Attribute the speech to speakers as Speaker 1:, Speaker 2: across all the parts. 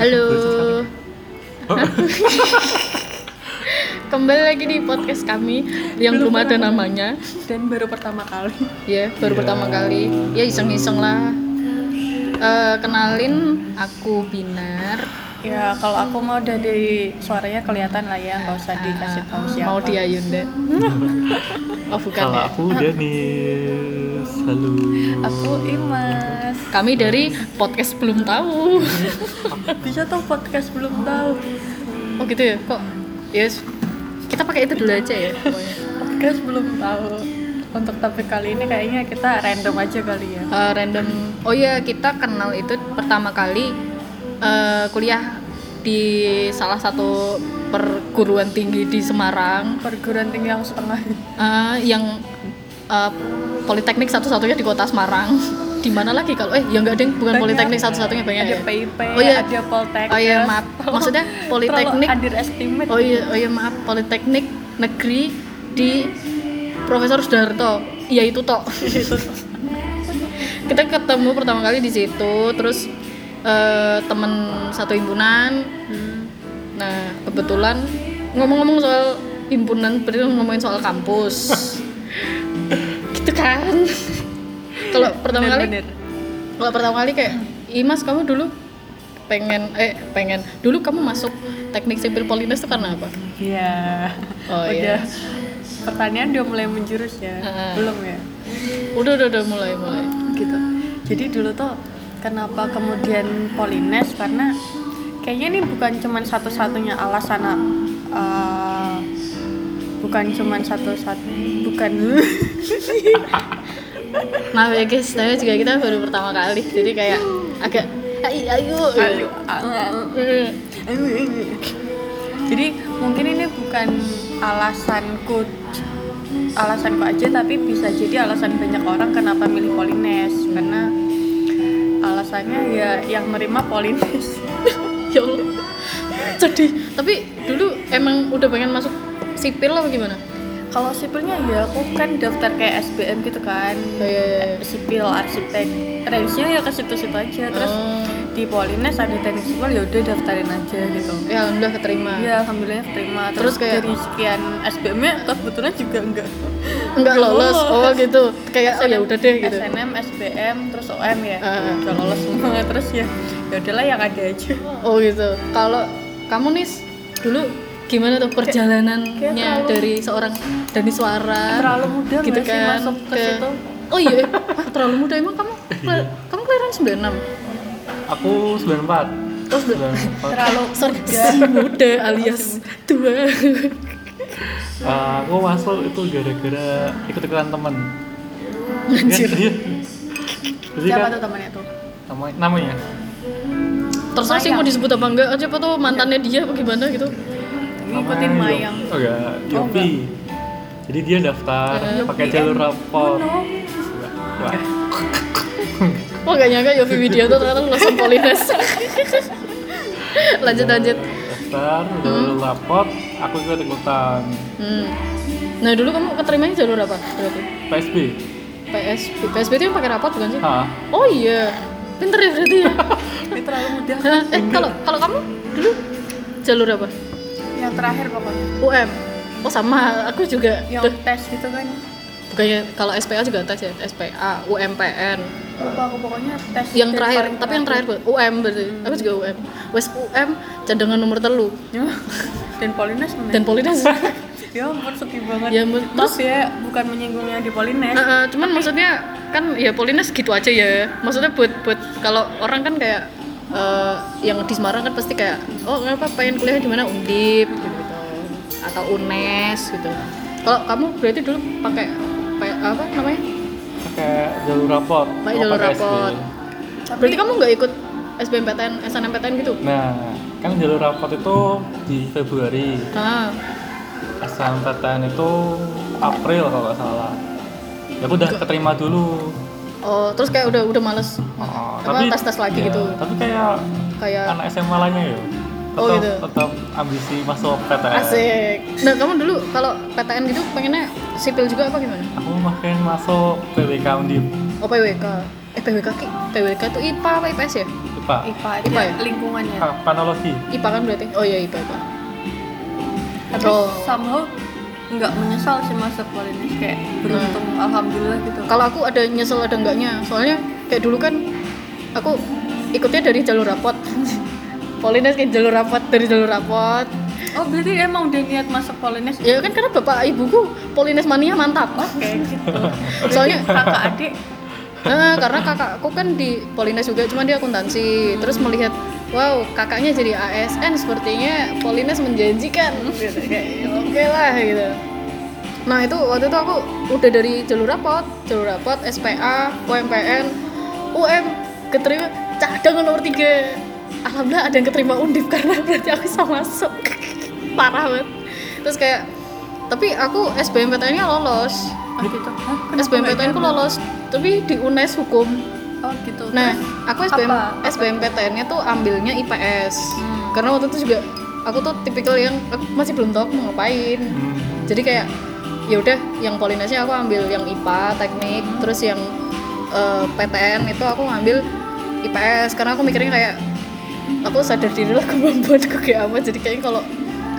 Speaker 1: Halo. Oh. Kembali lagi di podcast kami yang belum ada namanya.
Speaker 2: dan baru pertama kali
Speaker 1: Ya, baru
Speaker 3: Iya.
Speaker 1: pertama kali. Ya iseng-iseng lah. Eh, kenalin aku Binar.
Speaker 2: ya kalau aku mau dari suaranya kelihatan lah ya nggak usah dikasih tahu
Speaker 1: Ah,
Speaker 2: siapa
Speaker 1: Mau dia Yunda. oh bukan
Speaker 3: Kalau
Speaker 1: ya.
Speaker 3: aku Dennis, halo.
Speaker 2: aku Imas
Speaker 1: Kami dari podcast belum tahu.
Speaker 2: bisa tuh podcast belum tahu
Speaker 1: Oh gitu ya. Kok yes. Kita pakai itu dulu aja ya. pokoknya.
Speaker 2: podcast belum tahu untuk topik kali ini kayaknya kita random aja kali ya
Speaker 1: Eh, random oh iya kita kenal itu pertama kali eh, kuliah di salah satu perguruan tinggi di Semarang
Speaker 2: perguruan tinggi yang setengah
Speaker 1: eh, yang eh, politeknik satu-satunya di kota Semarang di mana lagi kalau eh ya enggak deng bukan
Speaker 2: Banyak.
Speaker 1: politeknik satu-satunya banyak
Speaker 2: ada
Speaker 1: ya
Speaker 2: PIP
Speaker 1: Oh iya.
Speaker 2: ada Poltek
Speaker 1: oh iya maaf maksudnya politeknik
Speaker 2: terlalu underestimate
Speaker 1: oh iya oh iya maaf politeknik negeri di Profesor Sudarto ya itu tok
Speaker 2: gitu
Speaker 1: kita ketemu pertama kali di situ terus eh, temen satu himpunan
Speaker 2: Hmm,
Speaker 1: nah kebetulan ngomong-ngomong soal himpunan berarti ngomongin soal kampus gitu kan kalau pertama kali
Speaker 2: Bener-bener.
Speaker 1: kalau pertama kali kayak Imas kamu dulu pengen eh pengen dulu kamu masuk teknik sipil polines itu karena apa
Speaker 2: Iya.
Speaker 1: Oh, iya.
Speaker 2: udah pertanyaan udah mulai menjurus ya
Speaker 1: Heeh.
Speaker 2: belum ya
Speaker 1: udah udah udah mulai mulai
Speaker 2: gitu jadi dulu tuh kenapa kemudian Polines karena kayaknya ini bukan cuman satu-satunya alasan eh, bukan cuman satu-satu bukan
Speaker 1: nah ya guys tapi juga kita baru pertama kali jadi kayak agak ayo ayo, ayo.
Speaker 2: jadi mungkin ini bukan alasanku alasanku aja tapi bisa jadi alasan banyak orang kenapa milih Polines karena alasannya ya yang menerima Polines
Speaker 1: ya Allah sedih tapi dulu emang udah pengen masuk sipil apa gimana
Speaker 2: Kalau sipilnya ya aku kan daftar kayak SBM gitu kan.
Speaker 1: Oh, iya, iya, iya.
Speaker 2: Sipil, arsitek. Range-nya ya ke situ-situ aja. Terus
Speaker 1: Oh.
Speaker 2: di Polines ada teknik sipil ya udah daftarin aja gitu.
Speaker 1: ya alhamdulillah keterima
Speaker 2: Ya alhamdulillah terima.
Speaker 1: Terus
Speaker 2: Terus,
Speaker 1: kayak-
Speaker 2: dari sekian SBM-nya kebetulan juga enggak.
Speaker 1: nggak lolos oh
Speaker 2: Lolos.
Speaker 1: gitu kayak oh ya udah deh gitu
Speaker 2: SNM, SBM, terus OM ya.
Speaker 1: Ah, ah.
Speaker 2: Udah lolos semua terus ya. Ya udahlah yang ada aja.
Speaker 1: oh gitu kalau kamu nih dulu gimana tuh perjalanannya
Speaker 2: kayak terlalu-
Speaker 1: dari seorang Dani Suara
Speaker 2: Terlalu muda
Speaker 1: gitu
Speaker 2: nggak sih
Speaker 1: kan
Speaker 2: masuk ke situ?
Speaker 1: oh iya eh. Wah, terlalu muda emang kamu kela- kamu kelahiran 96
Speaker 3: Aku 94.
Speaker 1: terus
Speaker 2: Terlalu
Speaker 1: sorry si muda alias tua
Speaker 3: Eh, aku masuk itu gara-gara ikut-ikutan temen.
Speaker 1: Anjir.
Speaker 3: Iya. Jadi
Speaker 2: siapa
Speaker 3: kan
Speaker 2: tuh temannya tuh?
Speaker 3: namanya, namanya
Speaker 1: terus sih mau disebut apa enggak aja apa tuh mantannya dia apa gimana gitu
Speaker 2: Ngikutin
Speaker 3: Namanya
Speaker 2: Mayang.
Speaker 3: Yop- Oh enggak, Yopi. Jadi dia daftar
Speaker 1: Eh, Oh,
Speaker 3: pakai jalur rapor.
Speaker 2: No.
Speaker 3: Wah,
Speaker 1: Wah gak nyangka ya, Yofi Widianto ternyata lulusan Polines Lanjut lanjut
Speaker 3: daftar jalur rapor, aku ikut-ikutan
Speaker 1: hmm. Nah dulu kamu keterimanya jalur apa berarti?
Speaker 3: PSB.
Speaker 1: PSB PSB itu yang pakai rapot bukan sih?
Speaker 3: Hah.
Speaker 1: Oh iya Pinter ya berarti ya
Speaker 2: Ini terlalu muda.
Speaker 1: Hah, Eh kalau kalau kamu dulu jalur apa?
Speaker 2: Yang terakhir pokoknya.
Speaker 1: UM Oh sama aku juga
Speaker 2: yang
Speaker 1: Duh,
Speaker 2: tes gitu kan
Speaker 1: Bukannya kalau SPA juga tes ya SPA, UMPN
Speaker 2: lupa aku pokoknya tes
Speaker 1: yang
Speaker 2: tes
Speaker 1: terakhir,
Speaker 2: paling
Speaker 1: tapi yang terakhir buat UM berarti. Aku juga UM. Wes UM cadangan nomor telu
Speaker 2: dan Polines men
Speaker 1: dan Polines. Eh,
Speaker 2: ya ampun sedih banget
Speaker 1: Ya ampun,
Speaker 2: terus ya bukan menyinggung yang di Polines
Speaker 1: Eh, eh, cuman maksudnya kan ya Polines gitu aja ya. Maksudnya buat buat kalau orang kan kayak eh, yang di Semarang kan pasti kayak oh kenapa pengen kuliah di mana Undip gitu, gitu atau UNES gitu. Kalau kamu berarti dulu pakai pakai apa namanya?
Speaker 3: Pakai jalur rapor.
Speaker 1: Pakai
Speaker 3: oh,
Speaker 1: jalur
Speaker 3: SB.
Speaker 1: rapor. Berarti kamu nggak ikut SBMPTN, SNMPTN gitu?
Speaker 3: Nah, kan jalur rapor itu di Februari.
Speaker 1: Nah,
Speaker 3: SNMPTN itu April kalau nggak salah. Ya aku udah keterima dulu.
Speaker 1: oh terus kayak udah udah males
Speaker 3: Oh,
Speaker 1: Apa, tes-tes lagi gitu?
Speaker 3: Tapi kayak
Speaker 1: kayak
Speaker 3: anak SMA lainnya ya. Tetap,
Speaker 1: Oh, gitu.
Speaker 3: tetap ambisi masuk PTN.
Speaker 1: Asik. Nah, kamu dulu kalau PTN gitu pengennya sipil juga apa gimana?
Speaker 3: Aku makin masuk PBK Undip.
Speaker 1: Oh, PWK. Eh, PWK ki. PWK itu IPA apa IPS ya?
Speaker 3: IPA IPA.
Speaker 2: IPA ada
Speaker 1: IPA ya?
Speaker 2: lingkungannya
Speaker 3: Ah, panologi.
Speaker 1: IPA kan berarti? Oh iya IPA IPA.
Speaker 2: tapi
Speaker 1: Oh.
Speaker 2: somehow nggak menyesal sih masuk Polines kayak beruntung
Speaker 1: Hmm.
Speaker 2: alhamdulillah gitu
Speaker 1: Kalau aku ada nyesel ada enggaknya. Soalnya kayak dulu kan aku ikutnya dari jalur rapot. Polines kayak jalur rapot dari jalur rapot.
Speaker 2: oh berarti emang udah niat masuk Polines oke
Speaker 1: Ya kan karena bapak ibuku Polines mania mantap.
Speaker 2: gitu
Speaker 1: Soalnya
Speaker 2: kakak adik
Speaker 1: Eh, karena kakakku kan di Polines juga, cuman dia akuntansi. Terus melihat, wow kakaknya jadi ASN, sepertinya Polines menjanjikan. Gitu, kayak, "Ya, Oke lah gitu. Nah itu waktu itu aku udah dari jalur rapot, jalur rapot, SPA, UMPN, UM, keterima cadang nomor 3 Alhamdulillah ada yang keterima undip karena berarti aku bisa masuk. Parah banget. Terus kayak, tapi aku SBMPTN-nya lolos.
Speaker 2: oh gitu Hah, kenapa
Speaker 1: SBMPTN
Speaker 2: nggak
Speaker 1: ku lolos, tapi di UNES hukum.
Speaker 2: ikut? oh gitu
Speaker 1: Nah, aku SBM,
Speaker 2: Apa? Apa?
Speaker 1: SBMPTN-nya tuh ambilnya IPS.
Speaker 2: Hmm.
Speaker 1: Karena waktu itu juga aku tuh tipikal yang aku masih belum tahu aku mau ngapain.
Speaker 3: Hmm.
Speaker 1: Jadi kayak ya udah yang polinesnya aku ambil yang IPA teknik,
Speaker 2: Hmm.
Speaker 1: terus yang eh, PTN itu aku ngambil IPS karena aku mikirnya kayak aku sadar diri lah kemampuanku kayak apa. Jadi kayaknya kalau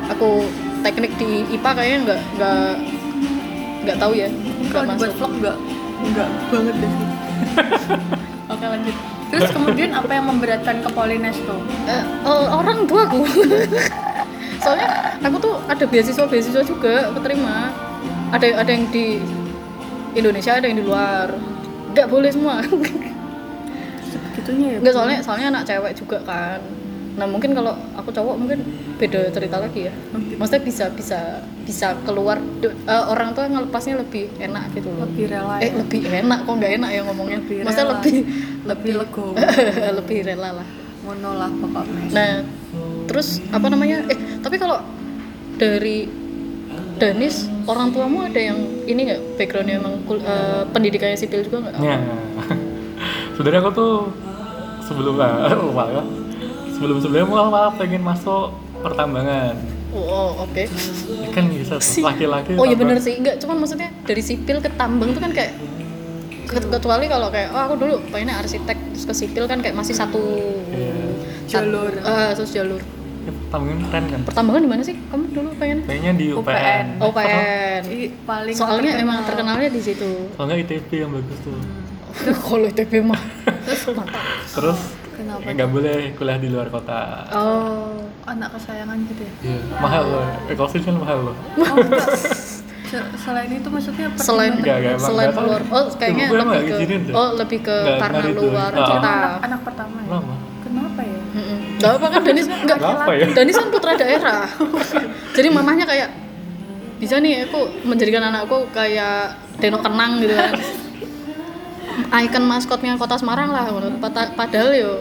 Speaker 1: aku teknik di IPA kayaknya nggak nggak nggak tahu ya nggak
Speaker 2: kalau dibuat
Speaker 1: masuk.
Speaker 2: vlog nggak nggak banget deh sih oke lanjut terus kemudian apa yang memberatkan ke Polines tuh
Speaker 1: Eh, eh, orang tua aku soalnya aku tuh ada beasiswa beasiswa juga keterima ada ada yang di Indonesia ada yang di luar nggak boleh semua
Speaker 2: gitunya ya
Speaker 1: nggak soalnya soalnya anak cewek juga kan nah mungkin kalau aku cowok mungkin beda cerita lagi ya maksudnya bisa bisa bisa keluar du- eh, orang tua ngelepasnya lebih enak gitu loh
Speaker 2: lebih rela
Speaker 1: eh
Speaker 2: ya?
Speaker 1: lebih enak kok nggak enak ya ngomongnya
Speaker 2: Lebih
Speaker 1: maksudnya
Speaker 2: rela.
Speaker 1: lebih
Speaker 2: lebih legowo
Speaker 1: lebih rela lah
Speaker 2: ngono lah bapak mes
Speaker 1: Nah, terus apa namanya? Eh, tapi kalau dari Danis, orang tuamu ada yang ini nggak backgroundnya emang kul- eh, pendidikannya sipil juga nggak?
Speaker 3: Ya. Sebenarnya aku tuh sebelum ah, malah sebelum sebelumnya malah, malah pengen masuk pertambangan.
Speaker 1: Oh, oh, oke.
Speaker 3: Ya kan bisa tuh, laki-laki.
Speaker 1: Oh iya
Speaker 3: tambah-
Speaker 1: bener sih, nggak. Cuman maksudnya dari sipil ke tambang tuh kan kayak ke- kecuali kalau kayak oh aku dulu pengennya arsitek terus ke sipil kan kayak masih satu
Speaker 3: Iya.
Speaker 1: sat-
Speaker 2: Jalur.
Speaker 1: eh, terus jalur
Speaker 3: Ya, pertambangan keren kan.
Speaker 1: pertambangan di mana sih kamu dulu pengen
Speaker 3: Kayaknya di UPN.
Speaker 2: UPN.
Speaker 1: OPN
Speaker 2: Ih, paling
Speaker 1: soalnya
Speaker 2: terkenal.
Speaker 1: emang terkenalnya di situ
Speaker 3: Kalau nggak ITB yang bagus tuh.
Speaker 1: Hmm. kalau ITB mah terus mantap
Speaker 3: Terus
Speaker 2: Kenapa
Speaker 3: nggak boleh kuliah di luar kota.
Speaker 1: oh
Speaker 2: anak kesayangan gitu ya
Speaker 3: Iya, mahal loh. Ekosis kan mahal loh.
Speaker 2: oh, enggak. Se- selain itu maksudnya
Speaker 1: selain
Speaker 2: pertimbangan-
Speaker 3: Enggak, enggak, emang
Speaker 1: selain
Speaker 3: enggak tahu.
Speaker 1: keluar oh kayaknya
Speaker 3: Ibu gue emang
Speaker 1: lebih
Speaker 3: nggak
Speaker 1: ke
Speaker 3: ngizinin tuh.
Speaker 1: oh lebih ke
Speaker 3: Nggak-
Speaker 1: karena
Speaker 3: nggak gitu.
Speaker 1: luar
Speaker 3: Ah.
Speaker 1: kota
Speaker 2: anak, anak pertama ya
Speaker 3: Lama.
Speaker 2: kenapa ya
Speaker 1: Mm-mm. nggak apa kan Danis nggak
Speaker 3: Kenapa ya?
Speaker 1: Danis kan putra daerah jadi mamahnya kayak bisa nih aku menjadikan anakku kayak Denok Kenang gitu kan ikon maskotnya kota Semarang lah menurut pata- padahal yo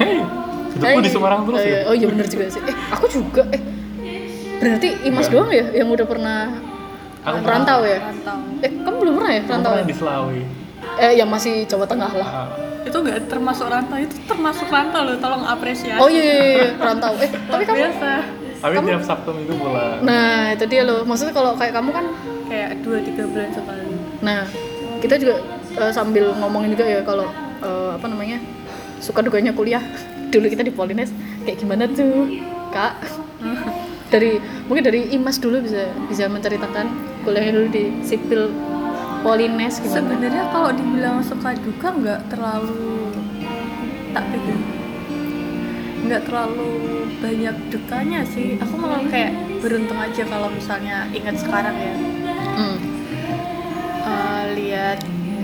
Speaker 3: Hei, hidupku
Speaker 1: Hey.
Speaker 3: di Semarang terus
Speaker 1: oh, iya.
Speaker 3: ya.
Speaker 1: oh iya bener juga sih eh aku juga eh berarti Imas
Speaker 3: Enggak.
Speaker 1: doang ya yang udah pernah
Speaker 3: Aku pernah-
Speaker 1: rantau ya
Speaker 2: rantau
Speaker 1: eh kamu belum pernah ya
Speaker 3: aku
Speaker 1: rantau ya?
Speaker 3: pernah di Selawi.
Speaker 1: eh yang masih Jawa Tengah lah
Speaker 3: Ah,
Speaker 2: itu enggak termasuk rantau itu termasuk rantau loh tolong apresiasi
Speaker 1: Oh iya, iya, iya, rantau. Eh, tapi kamu
Speaker 2: biasa
Speaker 3: Tapi tiap Sabtu minggu pulang.
Speaker 1: Nah, itu dia loh. Maksudnya kalau kayak kamu kan
Speaker 2: kayak dua tiga bulan sekali
Speaker 1: nah, kita juga eh, sambil ngomongin juga ya kalau eh, apa namanya? suka dukanya kuliah. Dulu kita di Polines kayak gimana tuh, Kak? dari mungkin dari Imas dulu bisa bisa menceritakan kuliahnya dulu di sipil Polines gimana?
Speaker 2: sebenarnya kalau dibilang suka duka nggak terlalu tak pikir nggak terlalu banyak dukanya sih aku malah kayak beruntung aja kalau misalnya ingat sekarang ya
Speaker 1: Hmm,
Speaker 2: Eh, lihat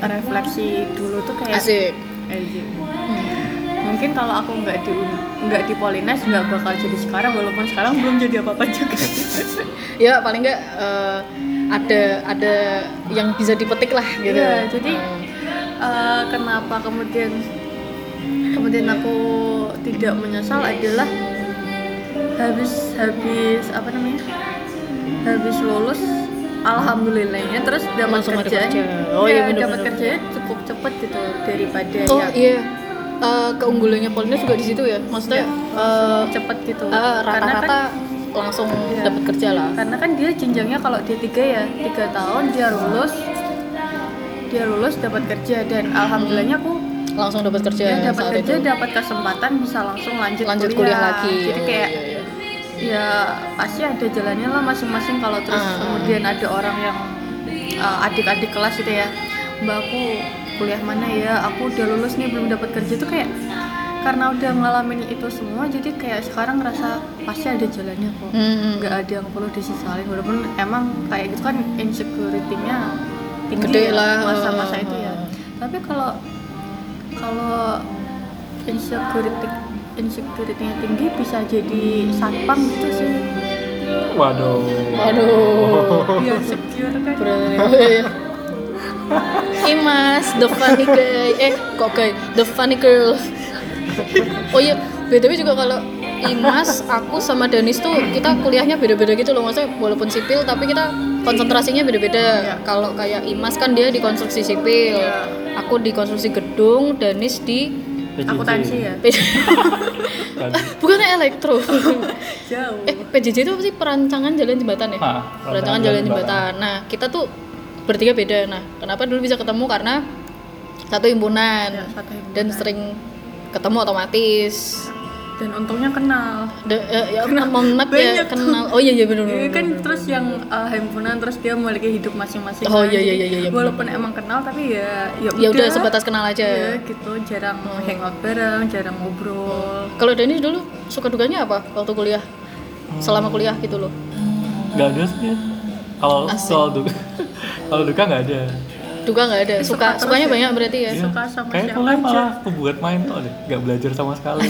Speaker 2: refleksi dulu tuh kayak
Speaker 1: asik.
Speaker 2: Asik.
Speaker 1: Hmm.
Speaker 2: mungkin kalau aku nggak di nggak di Polines nggak bakal jadi sekarang walaupun sekarang belum jadi apa apa juga
Speaker 1: Ya paling nggak eh, ada ada yang bisa dipetik lah gitu.
Speaker 2: Iya, jadi-
Speaker 1: Hmm.
Speaker 2: Eh, kenapa kemudian kemudian aku tidak menyesal adalah habis habis apa namanya habis lulus alhamdulillahnya terus dapat
Speaker 1: Langsung ada
Speaker 2: kerjaan
Speaker 1: kerja. Oh, iya,
Speaker 2: Ya,
Speaker 1: bener-bener.
Speaker 2: dapat kerjanya cukup cepet gitu daripada
Speaker 1: Oh
Speaker 2: yang
Speaker 1: iya, Eh, keunggulannya Polines juga di situ ya. Maksudnya eh,
Speaker 2: cepet gitu
Speaker 1: eh,
Speaker 2: karena
Speaker 1: rata-rata
Speaker 2: kan
Speaker 1: langsung
Speaker 2: Iya.
Speaker 1: dapat kerja lah.
Speaker 2: karena kan dia jenjangnya kalau dia tiga ya tiga tahun dia lulus dia lulus dapat kerja dan alhamdulillahnya aku
Speaker 1: langsung dapat kerja
Speaker 2: Ya, dapat
Speaker 1: Iya, saat
Speaker 2: kerja,
Speaker 1: itu
Speaker 2: dapat kesempatan bisa langsung lanjut,
Speaker 1: lanjut kuliah, lagi
Speaker 2: Jadi
Speaker 1: Oh,
Speaker 2: kayak
Speaker 1: iya, iya.
Speaker 2: ya pasti ada jalannya lah masing-masing kalau terus
Speaker 1: Ah.
Speaker 2: kemudian ada orang yang uh, adik-adik kelas gitu ya. Mbak aku kuliah mana ya? Aku udah lulus nih belum dapat kerja tuh kayak karena udah ngalamin itu semua jadi kayak sekarang ngerasa pasti ada jalannya kok.
Speaker 1: Hmm,
Speaker 2: nggak ada yang perlu disesalin walaupun emang kayak gitu kan insecurity-nya tinggi
Speaker 1: Gede
Speaker 2: ya,
Speaker 1: lah,
Speaker 2: masa-masa
Speaker 1: eh,
Speaker 2: itu ya
Speaker 1: eh.
Speaker 2: tapi kalau kalau insecurity insecurity-nya tinggi bisa jadi satpam gitu sih
Speaker 3: Waduh.
Speaker 1: Waduh.
Speaker 2: ya secure kan
Speaker 1: Bre. Imas, the funny guy. Eh, kok guy? The funny girl. Oh iya, BTW juga kalau Imas, aku sama Danis tuh kita kuliahnya beda-beda gitu loh. Maksudnya walaupun sipil tapi kita konsentrasinya beda-beda. Kalau kayak Imas kan dia di konstruksi sipil. Aku di konstruksi gedung, Danis di
Speaker 3: PJJ.
Speaker 2: aku tansi ya
Speaker 3: Dan,
Speaker 1: Bukannya elektro.
Speaker 2: jauh
Speaker 1: Eh, PJJ itu apa sih perancangan jalan jembatan ya?
Speaker 3: Ha,
Speaker 1: perancangan jalan jembatan. Nah, kita tuh bertiga beda. Nah, kenapa dulu bisa ketemu karena satu himpunan
Speaker 2: Ya, satu himpunan.
Speaker 1: dan sering ketemu otomatis.
Speaker 2: dan untungnya kenal
Speaker 1: De- eh, ya, mohon maaf ya
Speaker 2: banyak tuh.
Speaker 1: kenal. Oh iya iya benar.
Speaker 2: Iya kan terus yang uh, himpunan terus dia memiliki hidup masing-masing
Speaker 1: Oh,
Speaker 2: kan.
Speaker 1: iya, iya, iya,
Speaker 2: Jadi,
Speaker 1: iya,
Speaker 2: walaupun emang kenal tapi ya ya
Speaker 1: Ya udah sebatas kenal
Speaker 2: Iya,
Speaker 1: aja.
Speaker 2: gitu jarang hangout bareng jarang ngobrol
Speaker 1: Kalau Dani dulu suka dukanya apa waktu kuliah?
Speaker 3: Hmm.
Speaker 1: Selama kuliah gitu loh.
Speaker 3: Gak ada sih. Kalau
Speaker 1: Asik.
Speaker 3: soal duka, kalau duka nggak ada.
Speaker 1: Duka nggak ada. Suka,
Speaker 2: terus
Speaker 1: sukanya
Speaker 2: ya.
Speaker 1: banyak berarti ya.
Speaker 3: Iya.
Speaker 2: Suka sama
Speaker 3: Kayak
Speaker 2: siapa
Speaker 3: kuliah
Speaker 2: aja.
Speaker 3: malah kebuat main tuh deh. Gak belajar sama sekali.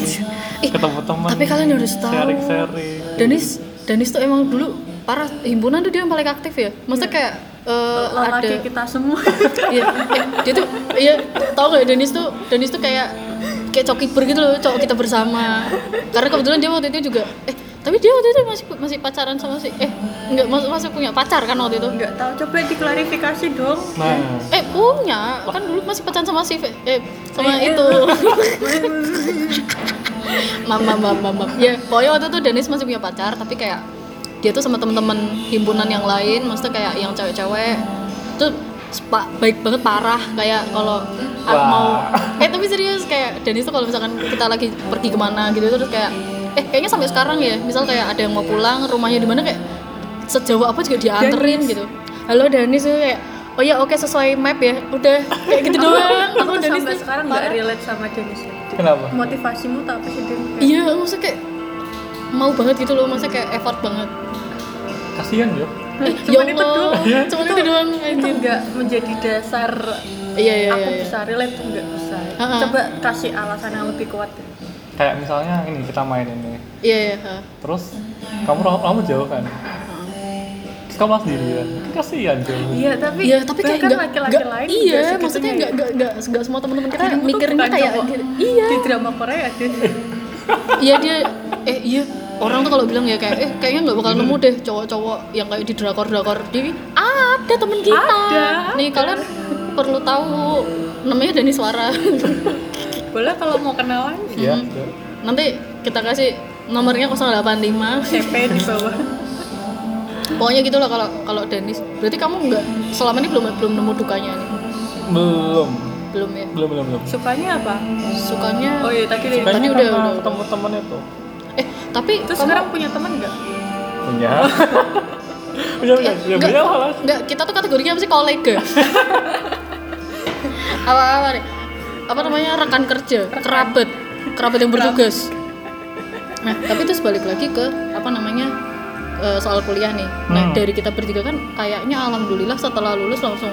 Speaker 1: Ih,
Speaker 3: Ketemu teman.
Speaker 1: Tapi kalian harus tahu.
Speaker 3: Sharing-sharing.
Speaker 1: Danis Danis tuh emang dulu parah himpunan tuh dia yang paling aktif ya. Maksudnya kayak eh, ada
Speaker 2: Iya. lelaki gitu kita semua
Speaker 1: Iya, eh, dia tuh iya tau gak Danis tuh Danis tuh kayak kayak cokiper gitu loh, cowok kita bersama. Karena kebetulan dia waktu itu juga eh tapi dia waktu itu masih masih pacaran sama si eh enggak masuk masih punya pacar kan waktu itu.
Speaker 2: nggak tahu coba diklarifikasi dong
Speaker 3: Nah,
Speaker 1: Eh punya, kan dulu masih pacaran sama si Fe- eh sama
Speaker 2: Eh,
Speaker 1: itu. mama mama mama. Ya, pokoknya waktu itu Danis masih punya pacar tapi kayak dia tuh sama temen-temen himpunan yang lain, maksudnya kayak yang cewek-cewek tuh sepa- baik banget parah kayak kalau aku
Speaker 3: Wah.
Speaker 1: mau eh tapi serius kayak Danis tuh kalau misalkan kita lagi pergi kemana gitu terus kayak eh kayaknya sampai sekarang ya misal kayak ada yang mau pulang rumahnya di mana kayak sejauh apa juga dianterin gitu halo Danis tuh kayak oh ya oke sesuai map ya udah kayak gitu doang
Speaker 2: aku
Speaker 1: Aku
Speaker 2: tuh
Speaker 1: Danis
Speaker 2: sampai
Speaker 1: tuh
Speaker 2: sekarang nggak relate sama Dennis
Speaker 3: Kenapa?
Speaker 2: motivasimu tuh apa sih Din? Kayak,
Speaker 1: iya maksudnya kayak mau banget gitu loh maksudnya kayak effort banget
Speaker 3: kasihan ya.
Speaker 1: eh,
Speaker 2: cuman itu doang.
Speaker 1: Allah, cuman itu doang
Speaker 2: itu
Speaker 1: anjir.
Speaker 2: nggak menjadi dasar
Speaker 1: iya iya
Speaker 2: aku
Speaker 1: iya iya.
Speaker 2: bisa relate tuh nggak bisa
Speaker 1: Ha-ha.
Speaker 2: coba kasih alasan yang lebih kuat deh.
Speaker 3: Kayak misalnya ini kita main ini.
Speaker 1: iya iya ha.
Speaker 3: Terus kamu kamu jauh kan? Terus kamu malah sendirian. Kan Kasihan jauh.
Speaker 2: iya tapi
Speaker 1: Iya, tapi kayak
Speaker 2: bahkan
Speaker 1: nggak-
Speaker 2: laki-laki
Speaker 1: nggak-
Speaker 2: lain
Speaker 1: Iya,
Speaker 2: juga segitunya
Speaker 1: maksudnya
Speaker 2: ya.
Speaker 1: nggak nggak nggak nggak semua teman-teman kita
Speaker 2: Dirimu tuh
Speaker 1: mikirnya
Speaker 2: bukan
Speaker 1: kayak
Speaker 2: cowok.
Speaker 1: gitu. Iya,
Speaker 2: di drama Korea ada
Speaker 1: iya dia eh iya orang tuh kalau bilang ya kayak eh kayaknya nggak bakal nemu deh cowok-cowok yang kayak di drakor-drakor di ada temen kita.
Speaker 2: Ada,
Speaker 1: Nih kalian perlu tahu namanya Dani Suara.
Speaker 2: boleh kalau mau kenalan
Speaker 3: Iya.
Speaker 2: Hmm.
Speaker 1: Nanti kita kasih nomornya 085.
Speaker 2: CP di bawah
Speaker 1: Pokoknya gitu lah kalau kalau Danis. Berarti kamu nggak selama ini belum belum nemu dukanya nih.
Speaker 3: Belum.
Speaker 1: Belum ya.
Speaker 3: Belum belum belum.
Speaker 2: sukanya apa
Speaker 1: Sukanya
Speaker 2: oh iya tadi dari
Speaker 1: Tadi
Speaker 3: Kayaknya
Speaker 1: udah,
Speaker 3: karena
Speaker 1: udah, udah.
Speaker 3: ketemu temen itu.
Speaker 1: eh tapi
Speaker 2: terus
Speaker 1: kamu-
Speaker 2: sekarang punya teman nggak
Speaker 1: Iya.
Speaker 3: Punya. punya punya
Speaker 2: Eh, ya
Speaker 3: punya
Speaker 1: Enggak,
Speaker 3: punya lah.
Speaker 1: enggak, kita tuh kategorinya apa sih kolega? apa apa nih? Apa namanya rekan kerja, kerabat, kerabat yang bertugas. Nah, tapi terus balik lagi ke apa namanya eh, soal kuliah nih. Nah,
Speaker 3: Hmm.
Speaker 1: dari kita bertiga kan kayaknya alhamdulillah setelah lulus langsung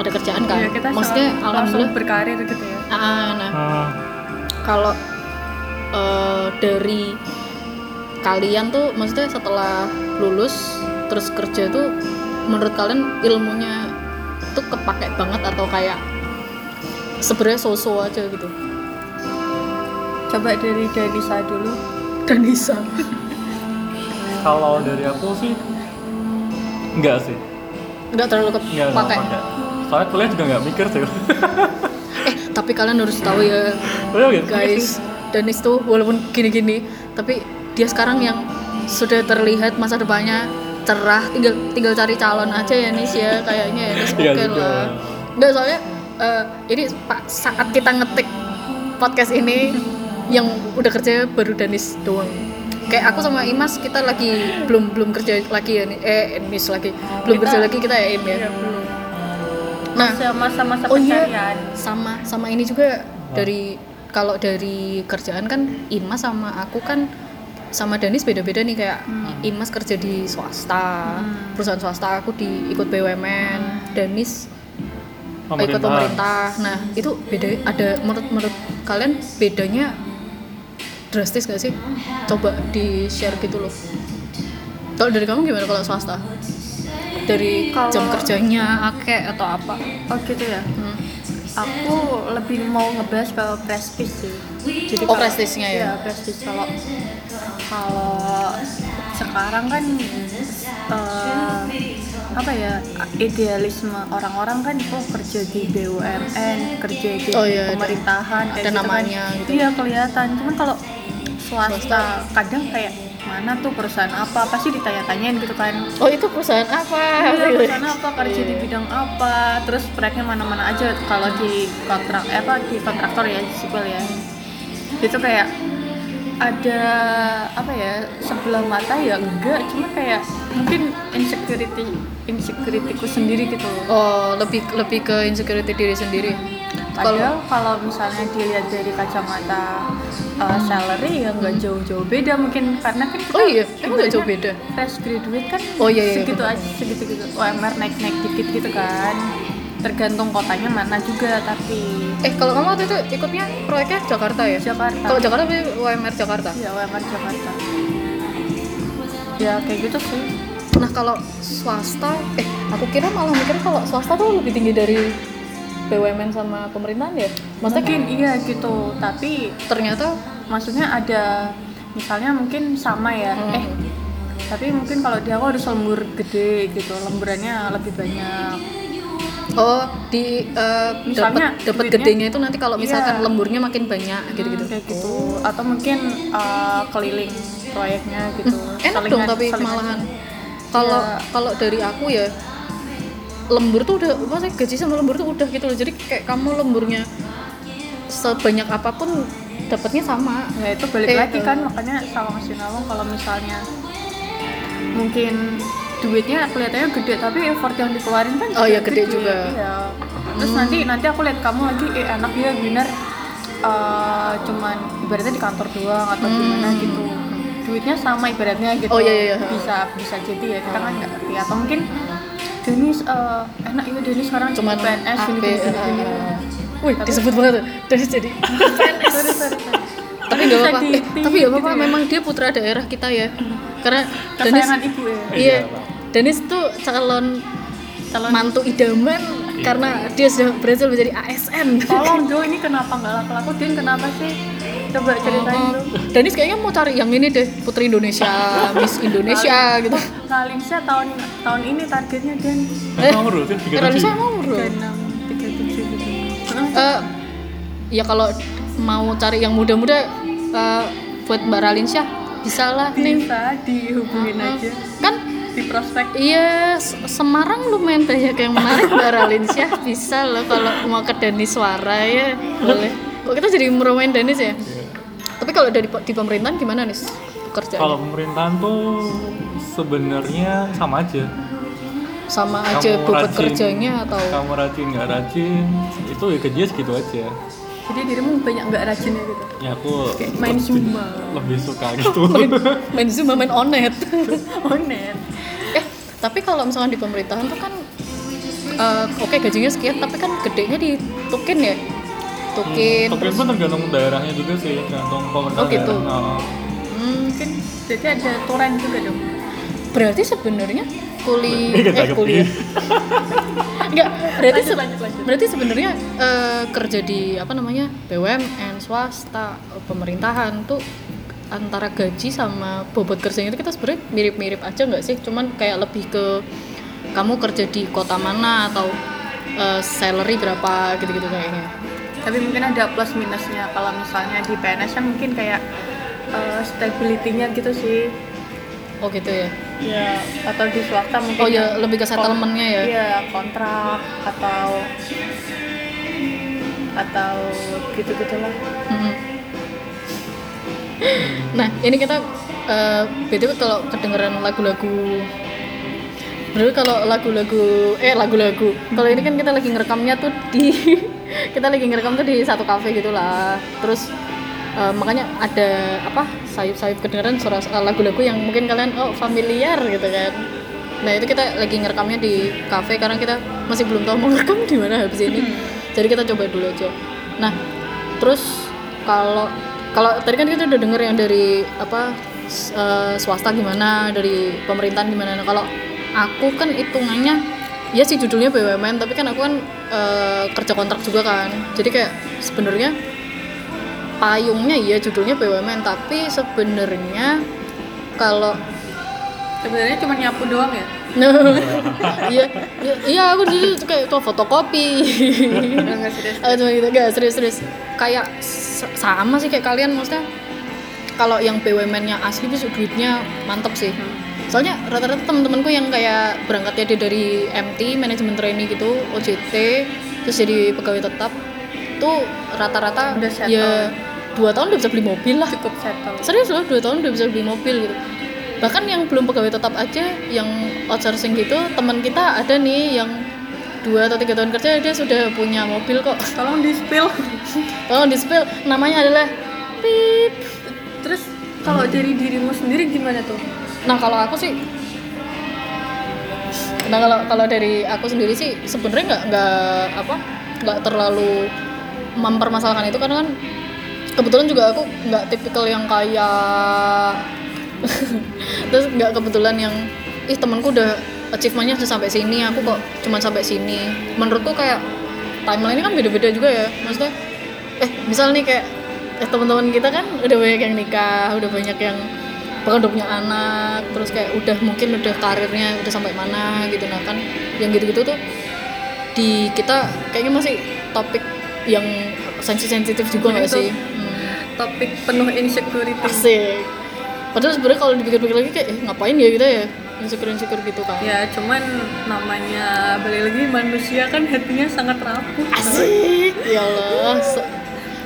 Speaker 1: ada kerjaan kan.
Speaker 2: ya kita
Speaker 1: Maksudnya
Speaker 2: selalu-
Speaker 1: alhamdulillah.
Speaker 2: langsung berkarir gitu ya
Speaker 1: Ah, nah,
Speaker 3: Hmm.
Speaker 1: kalau eh, dari kalian tuh maksudnya setelah lulus terus kerja tuh menurut kalian ilmunya tuh kepake banget atau kayak sebenarnya so-so aja gitu
Speaker 2: coba dari Danisa dulu Danisa
Speaker 3: Kalau dari aku sih enggak sih.
Speaker 1: nggak terlalu
Speaker 3: Enggak enggak
Speaker 1: kepake
Speaker 3: pakai. Soalnya kuliah juga enggak mikir sih.
Speaker 1: eh tapi kalian harus tahu ya
Speaker 3: Kuliah gitu.
Speaker 1: guys Danis tuh walaupun gini-gini tapi dia sekarang yang sudah terlihat masa depannya cerah tinggal tinggal cari calon aja ya Nis ya kayaknya ya Nis oke
Speaker 3: Iya, gitu.
Speaker 1: lah nggak soalnya eh, ini Pak, saat kita ngetik podcast ini yang udah kerja baru Danis doang. Kayak aku sama Imas kita lagi belum belum kerja lagi ya nih. Eh, Imas lagi. Belum
Speaker 2: Kita-
Speaker 1: kerja lagi kita ya Im ya.
Speaker 2: Ya, belum.
Speaker 1: Nah,
Speaker 2: Sama-sama
Speaker 1: oh iya.
Speaker 2: pencarian.
Speaker 1: Sama sama ini juga dari kalau dari kerjaan kan Imas sama aku kan sama Danis beda-beda nih kayak Imas kerja di swasta,
Speaker 2: Hmm.
Speaker 1: perusahaan swasta, aku di ikut BUMN, Danis ikut
Speaker 3: Pemerintah.
Speaker 1: pemerintah. Nah, itu beda ada menurut menurut kalian bedanya drastis gak sih? Coba di share gitu loh. Kalau dari kamu gimana kalau swasta? Dari
Speaker 2: Kalau-
Speaker 1: jam kerjanya akeh atau apa?
Speaker 2: Oh gitu ya.
Speaker 1: Hmm.
Speaker 2: Aku lebih mau ngebahas ke prestis sih. Jadi
Speaker 1: Oh,
Speaker 2: kalau-
Speaker 1: prestisnya ya?
Speaker 2: Iya, prestis kalau kalau sekarang kan eh, apa ya idealisme orang-orang kan oh kerja di BUMN, kerja di
Speaker 1: Oh, iya, ada-
Speaker 2: pemerintahan kayak
Speaker 1: ada
Speaker 2: gitu kan.
Speaker 1: namanya gitu.
Speaker 2: Iya, kelihatan. Cuman kalau
Speaker 1: Swasta.
Speaker 2: swasta kadang kayak mana tuh perusahaan apa pasti ditanya-tanyain gitu kan
Speaker 1: Oh, itu perusahaan apa? gitu?
Speaker 2: Iya, sana apa kerja di bidang apa terus proyeknya mana-mana aja kalau di kontrak eh, apa di kontraktor ya di sipil ya itu kayak ada apa ya sebelah mata ya enggak cuma kayak mungkin insecurity insecurityku sendiri gitu loh
Speaker 1: Oh, lebih lebih ke insecurity diri sendiri.
Speaker 2: Padahal kalau misalnya dilihat dari kacamata uh, salary ya nggak jauh-jauh beda mungkin karena kan kita
Speaker 1: Oh iya, emang nggak jauh beda?
Speaker 2: ibaratnya Fresh graduate kan
Speaker 1: Oh iya, iya,
Speaker 2: segitu
Speaker 1: betul.
Speaker 2: aja segitu gitu UMR naik-naik dikit gitu kan. Tergantung kotanya mana juga tapi
Speaker 1: Eh, kalau kamu waktu itu ikutnya proyeknya Jakarta ya?
Speaker 2: Jakarta.
Speaker 1: Kalau Jakarta berarti UMR Jakarta.
Speaker 2: ya UMR Jakarta. Ya kayak gitu sih.
Speaker 1: Nah kalau swasta, eh aku kira malah mikir kalau swasta tuh lebih tinggi dari BUMN sama pemerintahan ya. Maksudnya
Speaker 2: Mungkin
Speaker 1: kayak
Speaker 2: iya gitu tapi
Speaker 1: ternyata
Speaker 2: maksudnya ada misalnya mungkin sama ya
Speaker 1: Hmm.
Speaker 2: eh tapi mungkin kalau di aku harus lembur gede gitu lemburannya lebih banyak
Speaker 1: oh di eh,
Speaker 2: Misalnya,
Speaker 1: dapat dapat
Speaker 2: duitnya-
Speaker 1: gedenya itu nanti kalau misalkan
Speaker 2: Iya.
Speaker 1: lemburnya makin banyak gitu-gitu.
Speaker 2: kayak gitu atau mungkin uh, keliling proyeknya gitu
Speaker 1: Hmm. Enak
Speaker 2: Saling
Speaker 1: dong
Speaker 2: ngasih-
Speaker 1: tapi
Speaker 2: saling
Speaker 1: malahan.
Speaker 2: ngasih.
Speaker 1: Kalau
Speaker 2: Iya.
Speaker 1: kalau dari aku ya lembur tuh udah maksudnya gaji sama lembur tuh udah gitu loh. Jadi kayak kamu lemburnya sebanyak apapun dapatnya sama.
Speaker 2: ya itu balik
Speaker 1: Eh,
Speaker 2: lagi
Speaker 1: eh.
Speaker 2: kan makanya sama Mas Yunawang kalau misalnya mungkin duitnya kelihatannya gede tapi effort yang dikeluarin kan
Speaker 1: Oh,
Speaker 2: juga
Speaker 1: iya, gede juga. Hmm.
Speaker 2: Iya. terus nanti nanti aku lihat kamu lagi eh, enak ya bener eh, cuman ibaratnya di kantor doang atau gimana gitu duitnya sama ibaratnya gitu
Speaker 1: Hmm. Oh, iya, iya, iya.
Speaker 2: bisa bisa jadi ya kita kan nggak ngerti atau mungkin Denis eh, enak ya Denis sekarang jadi
Speaker 1: Cuman
Speaker 2: PNS
Speaker 1: AP,
Speaker 2: gini gini gini, gini.
Speaker 1: eh, Wih, disebut banget dari jadi
Speaker 2: Sorry, sorry, sorry.
Speaker 1: tapi
Speaker 2: Bisa
Speaker 1: gak apa-apa
Speaker 2: di-
Speaker 1: Eh, tapi gak
Speaker 2: gitu
Speaker 1: apa-apa
Speaker 2: ya.
Speaker 1: memang dia putra daerah kita ya karena Danis
Speaker 2: kesayangan ibu ya
Speaker 1: iya
Speaker 3: Iya, Pak.
Speaker 1: Danis tuh calon
Speaker 2: Calon-
Speaker 1: mantu idaman
Speaker 3: Iya.
Speaker 1: karena dia sudah berhasil menjadi ASN
Speaker 2: Tolong Jo, ini kenapa nggak laku-laku? Din, kenapa sih? Coba ceritain
Speaker 1: Oh,
Speaker 2: Jo.
Speaker 1: Danis kayaknya mau cari yang ini deh putri Indonesia Miss Indonesia gitu
Speaker 2: Paling saya Nah, tahun tahun ini targetnya Din
Speaker 3: Eh, kamu rutin tiga tujuh.
Speaker 1: Indonesia mau bro
Speaker 2: 36, 37 gitu.
Speaker 1: Eh, ya kalau mau cari yang muda-muda eh, buat Mbak Ralinsyah bisa lah nih
Speaker 2: Bisa dihubungin aja
Speaker 1: kan
Speaker 2: di prospek.
Speaker 1: Iya, Se- Semarang lumayan banyak yang menarik Mbak Ralinsyah bisa loh kalau mau ke Danis Suara ya boleh. Kok kita jadi meromain Danis ya?
Speaker 3: Iya.
Speaker 1: Tapi kalau dari di pemerintahan gimana nih kerjaan?
Speaker 3: Kalau pemerintahan tuh sebenarnya sama aja.
Speaker 1: Sama aja bobot
Speaker 3: rajin-
Speaker 1: kerjanya atau
Speaker 3: kamu rajin nggak rajin itu ya kerja segitu aja.
Speaker 2: Jadi dirimu banyak nggak rajinnya gitu.
Speaker 3: Ya aku
Speaker 2: Kayak main zumba.
Speaker 3: lebih suka gitu.
Speaker 1: main, main Zoom main onet?
Speaker 2: Onet.
Speaker 1: eh, tapi kalau misalnya di pemerintahan tuh kan eh, oke gajinya sekian tapi kan gedenya di tukin ya. Tukin.
Speaker 3: Tapi
Speaker 1: terus-
Speaker 3: pun tergantung daerahnya juga sih, tergantung pemerintah
Speaker 1: Oh, gitu.
Speaker 3: daerah. Nah,
Speaker 1: Hmm,
Speaker 2: Mungkin jadi ada turan juga dong.
Speaker 1: berarti sebenarnya kuli
Speaker 3: Ini
Speaker 1: eh
Speaker 3: kecakep
Speaker 1: kuliah
Speaker 3: nih.
Speaker 1: Enggak, berarti
Speaker 2: Lanjut,
Speaker 1: se-
Speaker 2: lanjut, lanjut.
Speaker 1: berarti sebenarnya eh, kerja di apa namanya BUMN swasta eh, pemerintahan tuh antara gaji sama bobot kerjanya itu kita sebenarnya mirip-mirip aja nggak sih? Cuman kayak lebih ke kamu kerja di kota mana atau eh, salary berapa gitu-gitu kayaknya.
Speaker 2: Tapi mungkin ada plus minusnya kalau misalnya di PNS kan mungkin kayak eh, stability-nya gitu sih.
Speaker 1: Oh gitu ya.
Speaker 2: Iya, atau di swasta mungkin Iya.
Speaker 1: Oh ya lebih ke
Speaker 2: kon-
Speaker 1: settlementnya ya.
Speaker 2: Iya, kontrak atau atau gitu-gitu lah
Speaker 1: Mm. Nah, ini kita eh, BTW kalau kedengeran lagu-lagu Bro, kalau lagu-lagu eh lagu-lagu. Kalau ini kan kita lagi ngerekamnya tuh di kita lagi ngerekam tuh di satu kafe gitu lah. Terus eh, makanya ada apa? sayup-sayup kedengeran suara eh, lagu-lagu yang mungkin kalian oh familiar gitu kan. Nah, itu kita lagi ngerekamnya di kafe karena kita masih belum tahu mau ngerekam di mana habis ini. Jadi kita coba dulu aja. Nah, terus kalau kalau tadi kan kita udah denger yang dari apa s- eh, swasta gimana, dari pemerintahan gimana. Nah, kalau aku kan hitungannya ya sih judulnya BUMN, tapi kan aku kan eh, kerja kontrak juga kan. Jadi kayak sebenarnya payungnya iya judulnya BUMN, tapi sebenarnya kalau
Speaker 2: sebenarnya cuma nyapu doang ya
Speaker 1: No. Iya, iya, iya aku dulu tuh kayak tuh fotokopi.
Speaker 2: nggak serius
Speaker 1: Ah, cuma gitu, gak serius-serius. Kayak s- sama sih kayak kalian maksudnya. Kalau yang BUMN-nya asli itu duitnya mantep sih.
Speaker 2: Hmm.
Speaker 1: Soalnya rata-rata temen-temenku yang kayak berangkatnya dia dari MT, manajemen trainee gitu, OJT, terus jadi pegawai tetap, tuh rata-rata
Speaker 2: Udah settle.
Speaker 1: ya dua tahun udah bisa beli mobil lah
Speaker 2: cukup settle
Speaker 1: serius loh dua tahun udah bisa beli mobil gitu bahkan yang belum pegawai tetap aja yang outsourcing gitu teman kita ada nih yang dua atau tiga tahun kerja dia sudah punya mobil kok
Speaker 2: tolong di spill
Speaker 1: tolong di spill namanya adalah pip
Speaker 2: terus kalau
Speaker 1: Hmm.
Speaker 2: dari dirimu sendiri gimana tuh
Speaker 1: nah kalau aku sih nah kalau kalau dari aku sendiri sih sebenarnya nggak nggak apa nggak terlalu mempermasalahkan itu karena kan kebetulan juga aku nggak tipikal yang kayak terus nggak kebetulan yang ih temanku udah achievementnya udah sampai sini aku kok cuma sampai sini menurutku kayak timeline kan beda-beda juga ya maksudnya eh misal nih kayak eh teman-teman kita kan udah banyak yang nikah udah banyak yang bahkan udah punya anak terus kayak udah mungkin udah karirnya udah sampai mana gitu nah kan yang gitu-gitu tuh di kita kayaknya masih topik yang sensitif-sensitif juga nggak
Speaker 2: Betul.
Speaker 1: sih Hmm.
Speaker 2: topik penuh insecurity
Speaker 1: Asik. Padahal sebenarnya kalau dipikir-pikir lagi kayak eh, ngapain ya kita ya insecure insecure gitu kan.
Speaker 2: ya cuman namanya balik lagi manusia kan hatinya sangat rapuh
Speaker 1: Asik. Ya Allah. se-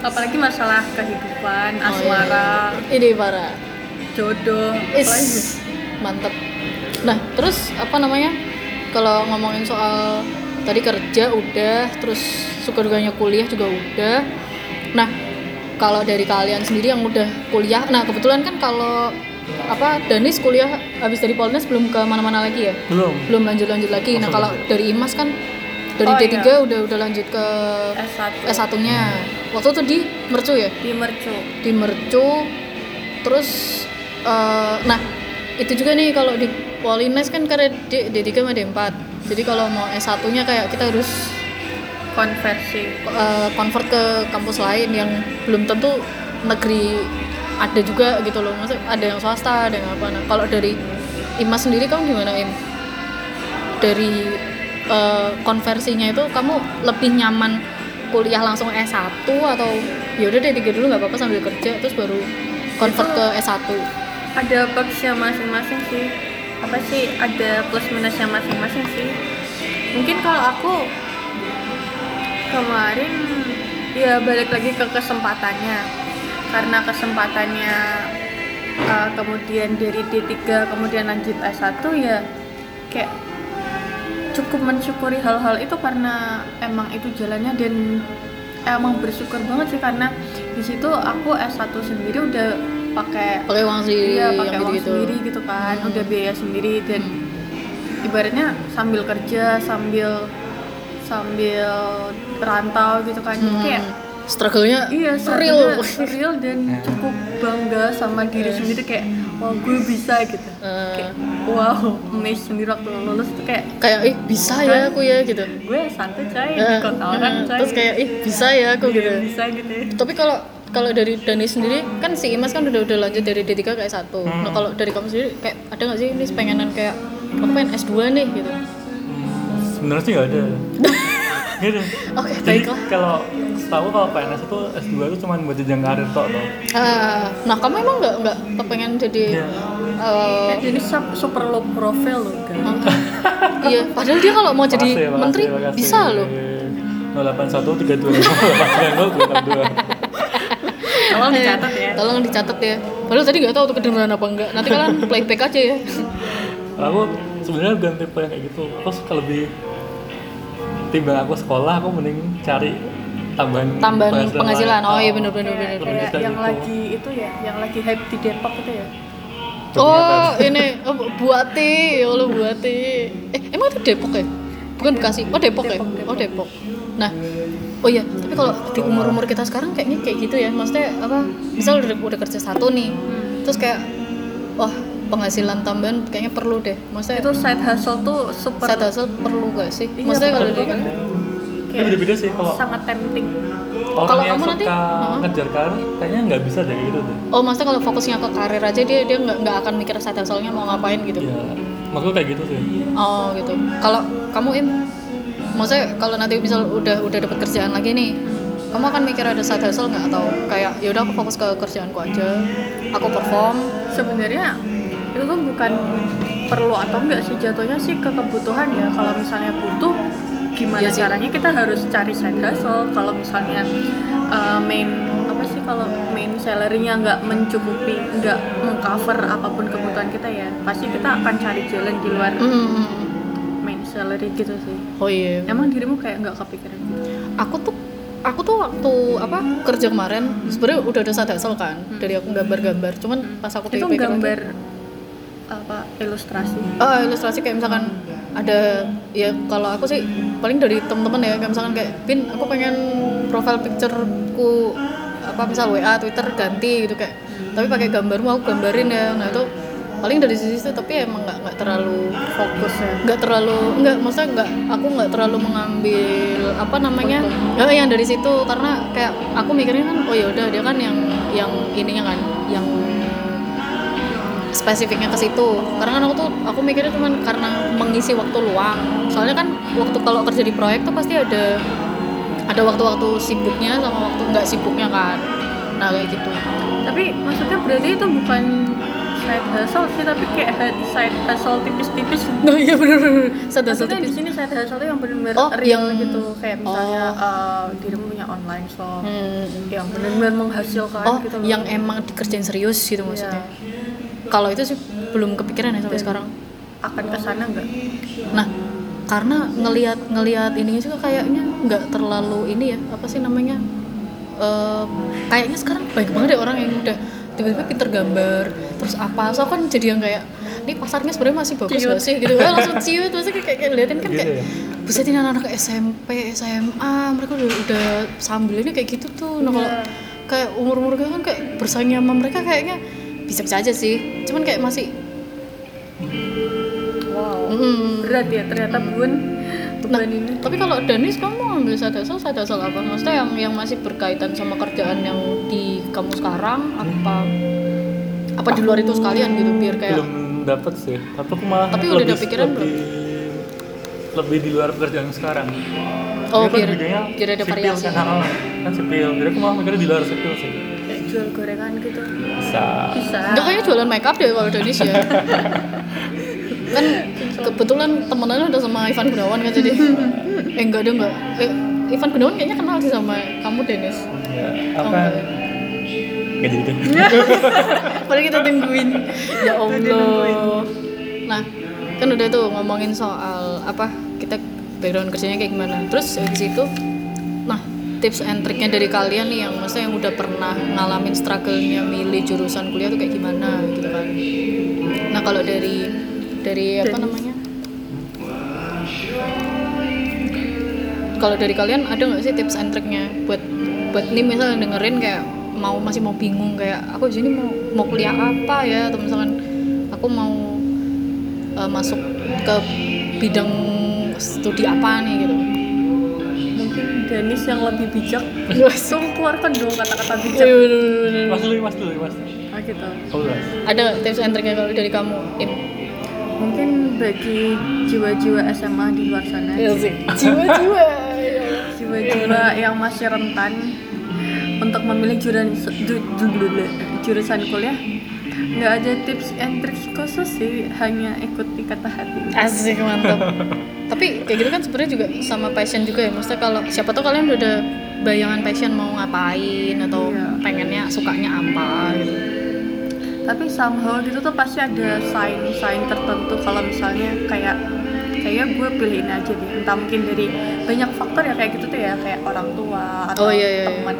Speaker 2: apalagi masalah kehidupan
Speaker 1: Oh,
Speaker 2: asmara
Speaker 1: iya. Ini parah.
Speaker 2: jodoh apalagi
Speaker 1: Is mantep. Nah terus apa namanya? Kalau ngomongin soal tadi kerja udah, terus suka dukanya kuliah juga udah. Nah kalau dari kalian sendiri yang udah kuliah, nah kebetulan kan kalau apa Danis kuliah habis dari Polnes belum ke mana-mana lagi ya?
Speaker 3: belum
Speaker 1: belum lanjut-lanjut lagi. Nah,
Speaker 3: Langsung
Speaker 1: kalau
Speaker 3: lanjut.
Speaker 1: dari Imas kan dari
Speaker 2: Oh,
Speaker 1: D3
Speaker 2: iya. Eh.
Speaker 1: udah udah lanjut ke
Speaker 2: S1
Speaker 1: S1-nya. Waktu itu di Mercu ya?
Speaker 2: di mercu
Speaker 1: Di Mercu terus eh, nah, itu juga nih kalau di Polines kan karena D, D3 sama D4. Jadi kalau mau S1-nya kayak kita harus
Speaker 2: konversi
Speaker 1: eh, convert ke kampus lain yang belum tentu negeri ada juga gitu loh. Maksudnya ada yang swasta, ada yang apa. Nah, kalau dari Imas sendiri kamu gimana, Im? Dari eh, konversinya itu kamu lebih nyaman kuliah langsung S1 atau ya udah deh tiga dulu nggak apa-apa sambil kerja terus baru convert ke S1.
Speaker 2: ada boxnya masing-masing sih apa sih ada plus minusnya masing-masing sih mungkin kalau aku kemarin ya balik lagi ke kesempatannya karena kesempatannya uh, kemudian dari D3 kemudian lanjut S1 ya kayak cukup mensyukuri hal-hal itu karena emang itu jalannya dan emang bersyukur banget sih karena di situ aku S1 sendiri udah pakai
Speaker 1: Pakai uang sendiri
Speaker 2: Iya
Speaker 1: yang
Speaker 2: pakai uang
Speaker 1: gitu-gitu.
Speaker 2: sendiri gitu kan,
Speaker 1: Hmm.
Speaker 2: udah biaya sendiri dan ibaratnya sambil kerja sambil sambil rantau gitu kan Jadi
Speaker 1: Hmm.
Speaker 2: kayak
Speaker 1: Struggle-nya
Speaker 2: iya
Speaker 1: real.
Speaker 2: real real dan cukup bangga sama diri sendiri kayak wow gue bisa gitu
Speaker 1: Eh.
Speaker 2: kayak wow amazed sendiri waktu lulus tuh kayak
Speaker 1: kayak ih bisa ya
Speaker 2: Kan?
Speaker 1: aku ya gitu.
Speaker 2: gue santai coy di
Speaker 1: Eh,
Speaker 2: kota orang
Speaker 1: eh,
Speaker 2: coy
Speaker 1: terus kayak ih bisa ya aku
Speaker 2: Iya,
Speaker 1: gitu.
Speaker 2: bisa gitu ya.
Speaker 1: Tapi kalau kalau dari Dani sendiri kan si Imas kan udah udah lanjut dari D3 ke S1.
Speaker 3: Hmm.
Speaker 1: Nah, kalau dari kamu sendiri kayak ada nggak sih ini pengenan kayak aku pengen S2 nih gitu.
Speaker 3: Hmm, sebenarnya sih nggak ada Nggak ada
Speaker 1: Oke,
Speaker 3: jadi
Speaker 1: baiklah.
Speaker 3: kalau setahu kalau PNS itu S2 itu cuma buat jenjang karir tok loh
Speaker 1: Ah, nah, kamu emang nggak nggak kepengen jadi
Speaker 3: Iya.
Speaker 1: eh,
Speaker 2: jadi sup- super low profile loh kan
Speaker 1: iya, padahal dia kalau mau jadi
Speaker 3: Makasih, makasih,
Speaker 1: menteri
Speaker 3: makasih.
Speaker 1: bisa loh.
Speaker 3: 081 325 890
Speaker 2: Tolong dicatat ya.
Speaker 1: Tolong dicatat ya. Padahal tadi nggak tahu tuh kedengeran apa enggak. Nanti kalian playback aja ya.
Speaker 3: aku sebenarnya bukan tipe yang kayak gitu aku suka lebih tiba aku sekolah aku mending cari tambahan
Speaker 1: Tambahan penghasilan. Oh iya bener bener bener.
Speaker 2: Kayak,
Speaker 1: bener.
Speaker 2: kayak
Speaker 3: Lebih
Speaker 2: yang
Speaker 3: dari
Speaker 2: lagi itu ya, yang lagi hype di Depok itu ya.
Speaker 1: Oh ini oh, buati, ya Allah buati. Eh emang itu Depok ya? Bukan Bekasi. Oh Depok ya. Oh Depok. Nah, oh iya. Tapi kalau di umur umur kita sekarang kayaknya kayak gitu ya. Maksudnya apa? Misal udah, udah kerja satu nih, terus kayak wah penghasilan tambahan kayaknya perlu deh. Maksudnya
Speaker 2: Itu side hustle tuh super
Speaker 1: side hustle perlu gak sih?
Speaker 2: Iya,
Speaker 1: Maksudnya kalau kan,
Speaker 2: perlu
Speaker 1: di
Speaker 2: banget.
Speaker 3: Ini beda-beda sih kalau
Speaker 2: sangat tempting.
Speaker 3: orang
Speaker 1: Kalau
Speaker 3: yang
Speaker 1: kamu
Speaker 3: suka
Speaker 1: nanti- Heeh.
Speaker 3: ngejar karir kayaknya nggak bisa dari gitu deh.
Speaker 1: Oh, maksudnya kalau fokusnya ke karir aja dia dia nggak nggak akan mikir side hustle-nya mau ngapain gitu.
Speaker 3: Iya, maksudnya kayak gitu sih.
Speaker 1: Oh gitu. Kalau kamu im, maksudnya kalau nanti misal udah udah dapat kerjaan lagi nih, kamu akan mikir ada side hustle nggak atau kayak yaudah aku fokus ke kerjaanku aja, aku perform.
Speaker 2: Sebenarnya itu tuh bukan perlu atau enggak sih jatuhnya sih ke kebutuhan ya. Kalau misalnya butuh gimana
Speaker 1: Iya sih.
Speaker 2: caranya kita harus cari side hustle. Kalau misalnya uh, main apa sih kalau main salary-nya nggak mencukupi, nggak mengcover apapun kebutuhan kita ya, pasti kita akan cari jalan di luar
Speaker 1: Hmm.
Speaker 2: main salary gitu sih.
Speaker 1: Oh iya.
Speaker 2: Emang dirimu kayak nggak kepikiran gitu?
Speaker 1: Aku tuh aku tuh waktu apa kerja kemarin sebenarnya udah ada side hustle kan
Speaker 2: Hmm.
Speaker 1: dari aku gambar-gambar. Cuman Hmm, pas aku
Speaker 2: itu
Speaker 1: pikir-pikir lagi-
Speaker 2: gambar apa ilustrasi
Speaker 1: Oh, ilustrasi kayak misalkan ada ya kalau aku sih paling dari temen-temen ya kayak misalkan kayak pin aku pengen profile pictureku apa misal WA Twitter ganti gitu kayak tapi pakai gambarmu aku gambarin ya nah itu paling dari sisi itu tapi emang nggak nggak terlalu
Speaker 2: fokus ya
Speaker 1: nggak terlalu nggak maksudnya nggak aku nggak terlalu mengambil apa namanya eh, yang dari situ karena kayak aku mikirnya kan oh ya udah dia kan yang yang ininya kan yang spesifiknya ke situ karena kan aku tuh aku mikirnya cuman karena mengisi waktu luang soalnya kan waktu kalau kerja di proyek tuh pasti ada ada waktu-waktu sibuknya sama waktu nggak sibuknya kan nah kayak gitu
Speaker 2: tapi maksudnya berarti itu bukan side hustle sih tapi kayak head- side hustle tipis-tipis
Speaker 1: nah iya bener-bener
Speaker 2: maksudnya
Speaker 1: gitu.
Speaker 2: di sini side hustle tuh yang benar-benar
Speaker 1: Oh,
Speaker 2: real
Speaker 1: yang- Oh.
Speaker 2: gitu kayak misalnya eh, dirimu punya online shop
Speaker 1: Gitu
Speaker 2: yang benar-benar menghasilkan
Speaker 1: Hmm. Oh,
Speaker 2: gitu loh
Speaker 1: yang emang dikerjain serius gitu maksudnya. Kalau itu sih belum kepikiran ya sampai
Speaker 2: Dan
Speaker 1: sekarang.
Speaker 2: akan kesana nggak
Speaker 1: Nah, karena ngelihat ngelihat ininya juga kayaknya nggak terlalu ini ya apa sih namanya? Eh, kayaknya sekarang banyak banget ya orang yang udah tiba-tiba pinter gambar terus apa so aku kan jadi yang kayak ini pasarnya sebenarnya masih bagus
Speaker 2: Ciut.
Speaker 1: gak sih gitu Wah, langsung ciut maksudnya kayak, kayak ngeliatin kan
Speaker 3: Gitu
Speaker 1: kayak
Speaker 3: ya?
Speaker 1: buset ini anak-anak SMP SMA mereka udah, udah sambilannya kayak gitu tuh nah kalau
Speaker 2: Iya.
Speaker 1: kayak umur-umur gue kan kayak bersaingnya sama mereka kayaknya bisa-bisa aja sih cuman kayak masih
Speaker 2: wow
Speaker 1: mm,
Speaker 2: berat ya ternyata bun
Speaker 1: Nah,
Speaker 2: beban ini
Speaker 1: tapi kalau Danis kamu ambil sadasal sadasal apa? Maksudnya yang yang masih berkaitan sama kerjaan yang di kamu sekarang apa apa di luar itu sekalian gitu biar kayak
Speaker 3: Belum dapet sih. Tapi aku malah
Speaker 1: Tapi udah
Speaker 3: lebih,
Speaker 1: ada pikiran
Speaker 3: lebih, lebih di luar pekerjaan sekarang.
Speaker 1: Oh,
Speaker 3: Dia kan
Speaker 1: biar-
Speaker 3: kerjanya
Speaker 1: biar ada
Speaker 3: sipil
Speaker 1: variasi.
Speaker 3: Kan, ha-ha. kan sipil. Jadi aku malah mikirnya di luar sipil sih.
Speaker 2: kayak jual gorengan gitu
Speaker 3: Bisa.
Speaker 2: bisa
Speaker 1: Enggak kayaknya jualan make up deh kalau Danis ya. kan kebetulan temenannya udah sama Ivan Gunawan kan jadi eh enggak deh enggak. Eh, Ivan Gunawan kayaknya kenal sih sama kamu Danis.
Speaker 3: Ya,
Speaker 1: Oh,
Speaker 3: apa?
Speaker 1: enggak.
Speaker 3: Nggak jadi deh.
Speaker 1: Padahal kita tungguin. Ya Allah. Nah, kan udah tuh ngomongin soal apa kita background kerjanya kayak gimana. Terus dari situ, nah tips and triknya dari kalian nih yang masa yang udah pernah ngalamin struggle-nya milih jurusan kuliah tuh kayak gimana gitu kan. Nah, kalau dari dari apa
Speaker 2: Dari-
Speaker 1: namanya? Kalau dari kalian ada nggak sih tips and triknya buat buat nih misalnya dengerin kayak mau masih mau bingung kayak aku di sini mau mau kuliah apa ya atau misalkan aku mau eh, masuk ke bidang studi apa nih gitu.
Speaker 2: mungkin Danis yang lebih bijak langsung keluarkan dong kata-kata bijak
Speaker 1: Iya.
Speaker 3: Mas dulu, mas dulu, mas.
Speaker 2: oh gitu
Speaker 3: Kamu dulu. Mas.
Speaker 1: Ada nggak tips and triknya kalau dari kamu? Im?
Speaker 2: mungkin bagi jiwa-jiwa SMA di luar sana
Speaker 1: Iya. Jiwa-jiwa.
Speaker 2: jiwa-jiwa yang masih rentan untuk memilih jurusan ju- ju- ju- jurusan kuliah nggak ada tips and tricks khusus sih hanya ikuti kata hati
Speaker 1: Asik mantap. Tapi tapi kayak gitu kan sebenarnya juga sama passion juga ya maksudnya kalau siapa tahu kalian udah bayangan passion mau ngapain atau
Speaker 2: Iya.
Speaker 1: pengennya sukanya apa gitu
Speaker 2: tapi somehow gitu tuh pasti ada sign-sign tertentu kalau misalnya kayak kayaknya gue pilihin aja deh entah mungkin dari banyak faktor ya kayak gitu tuh ya kayak orang tua
Speaker 1: Oh,
Speaker 2: atau
Speaker 1: iya, iya, iya.
Speaker 2: teman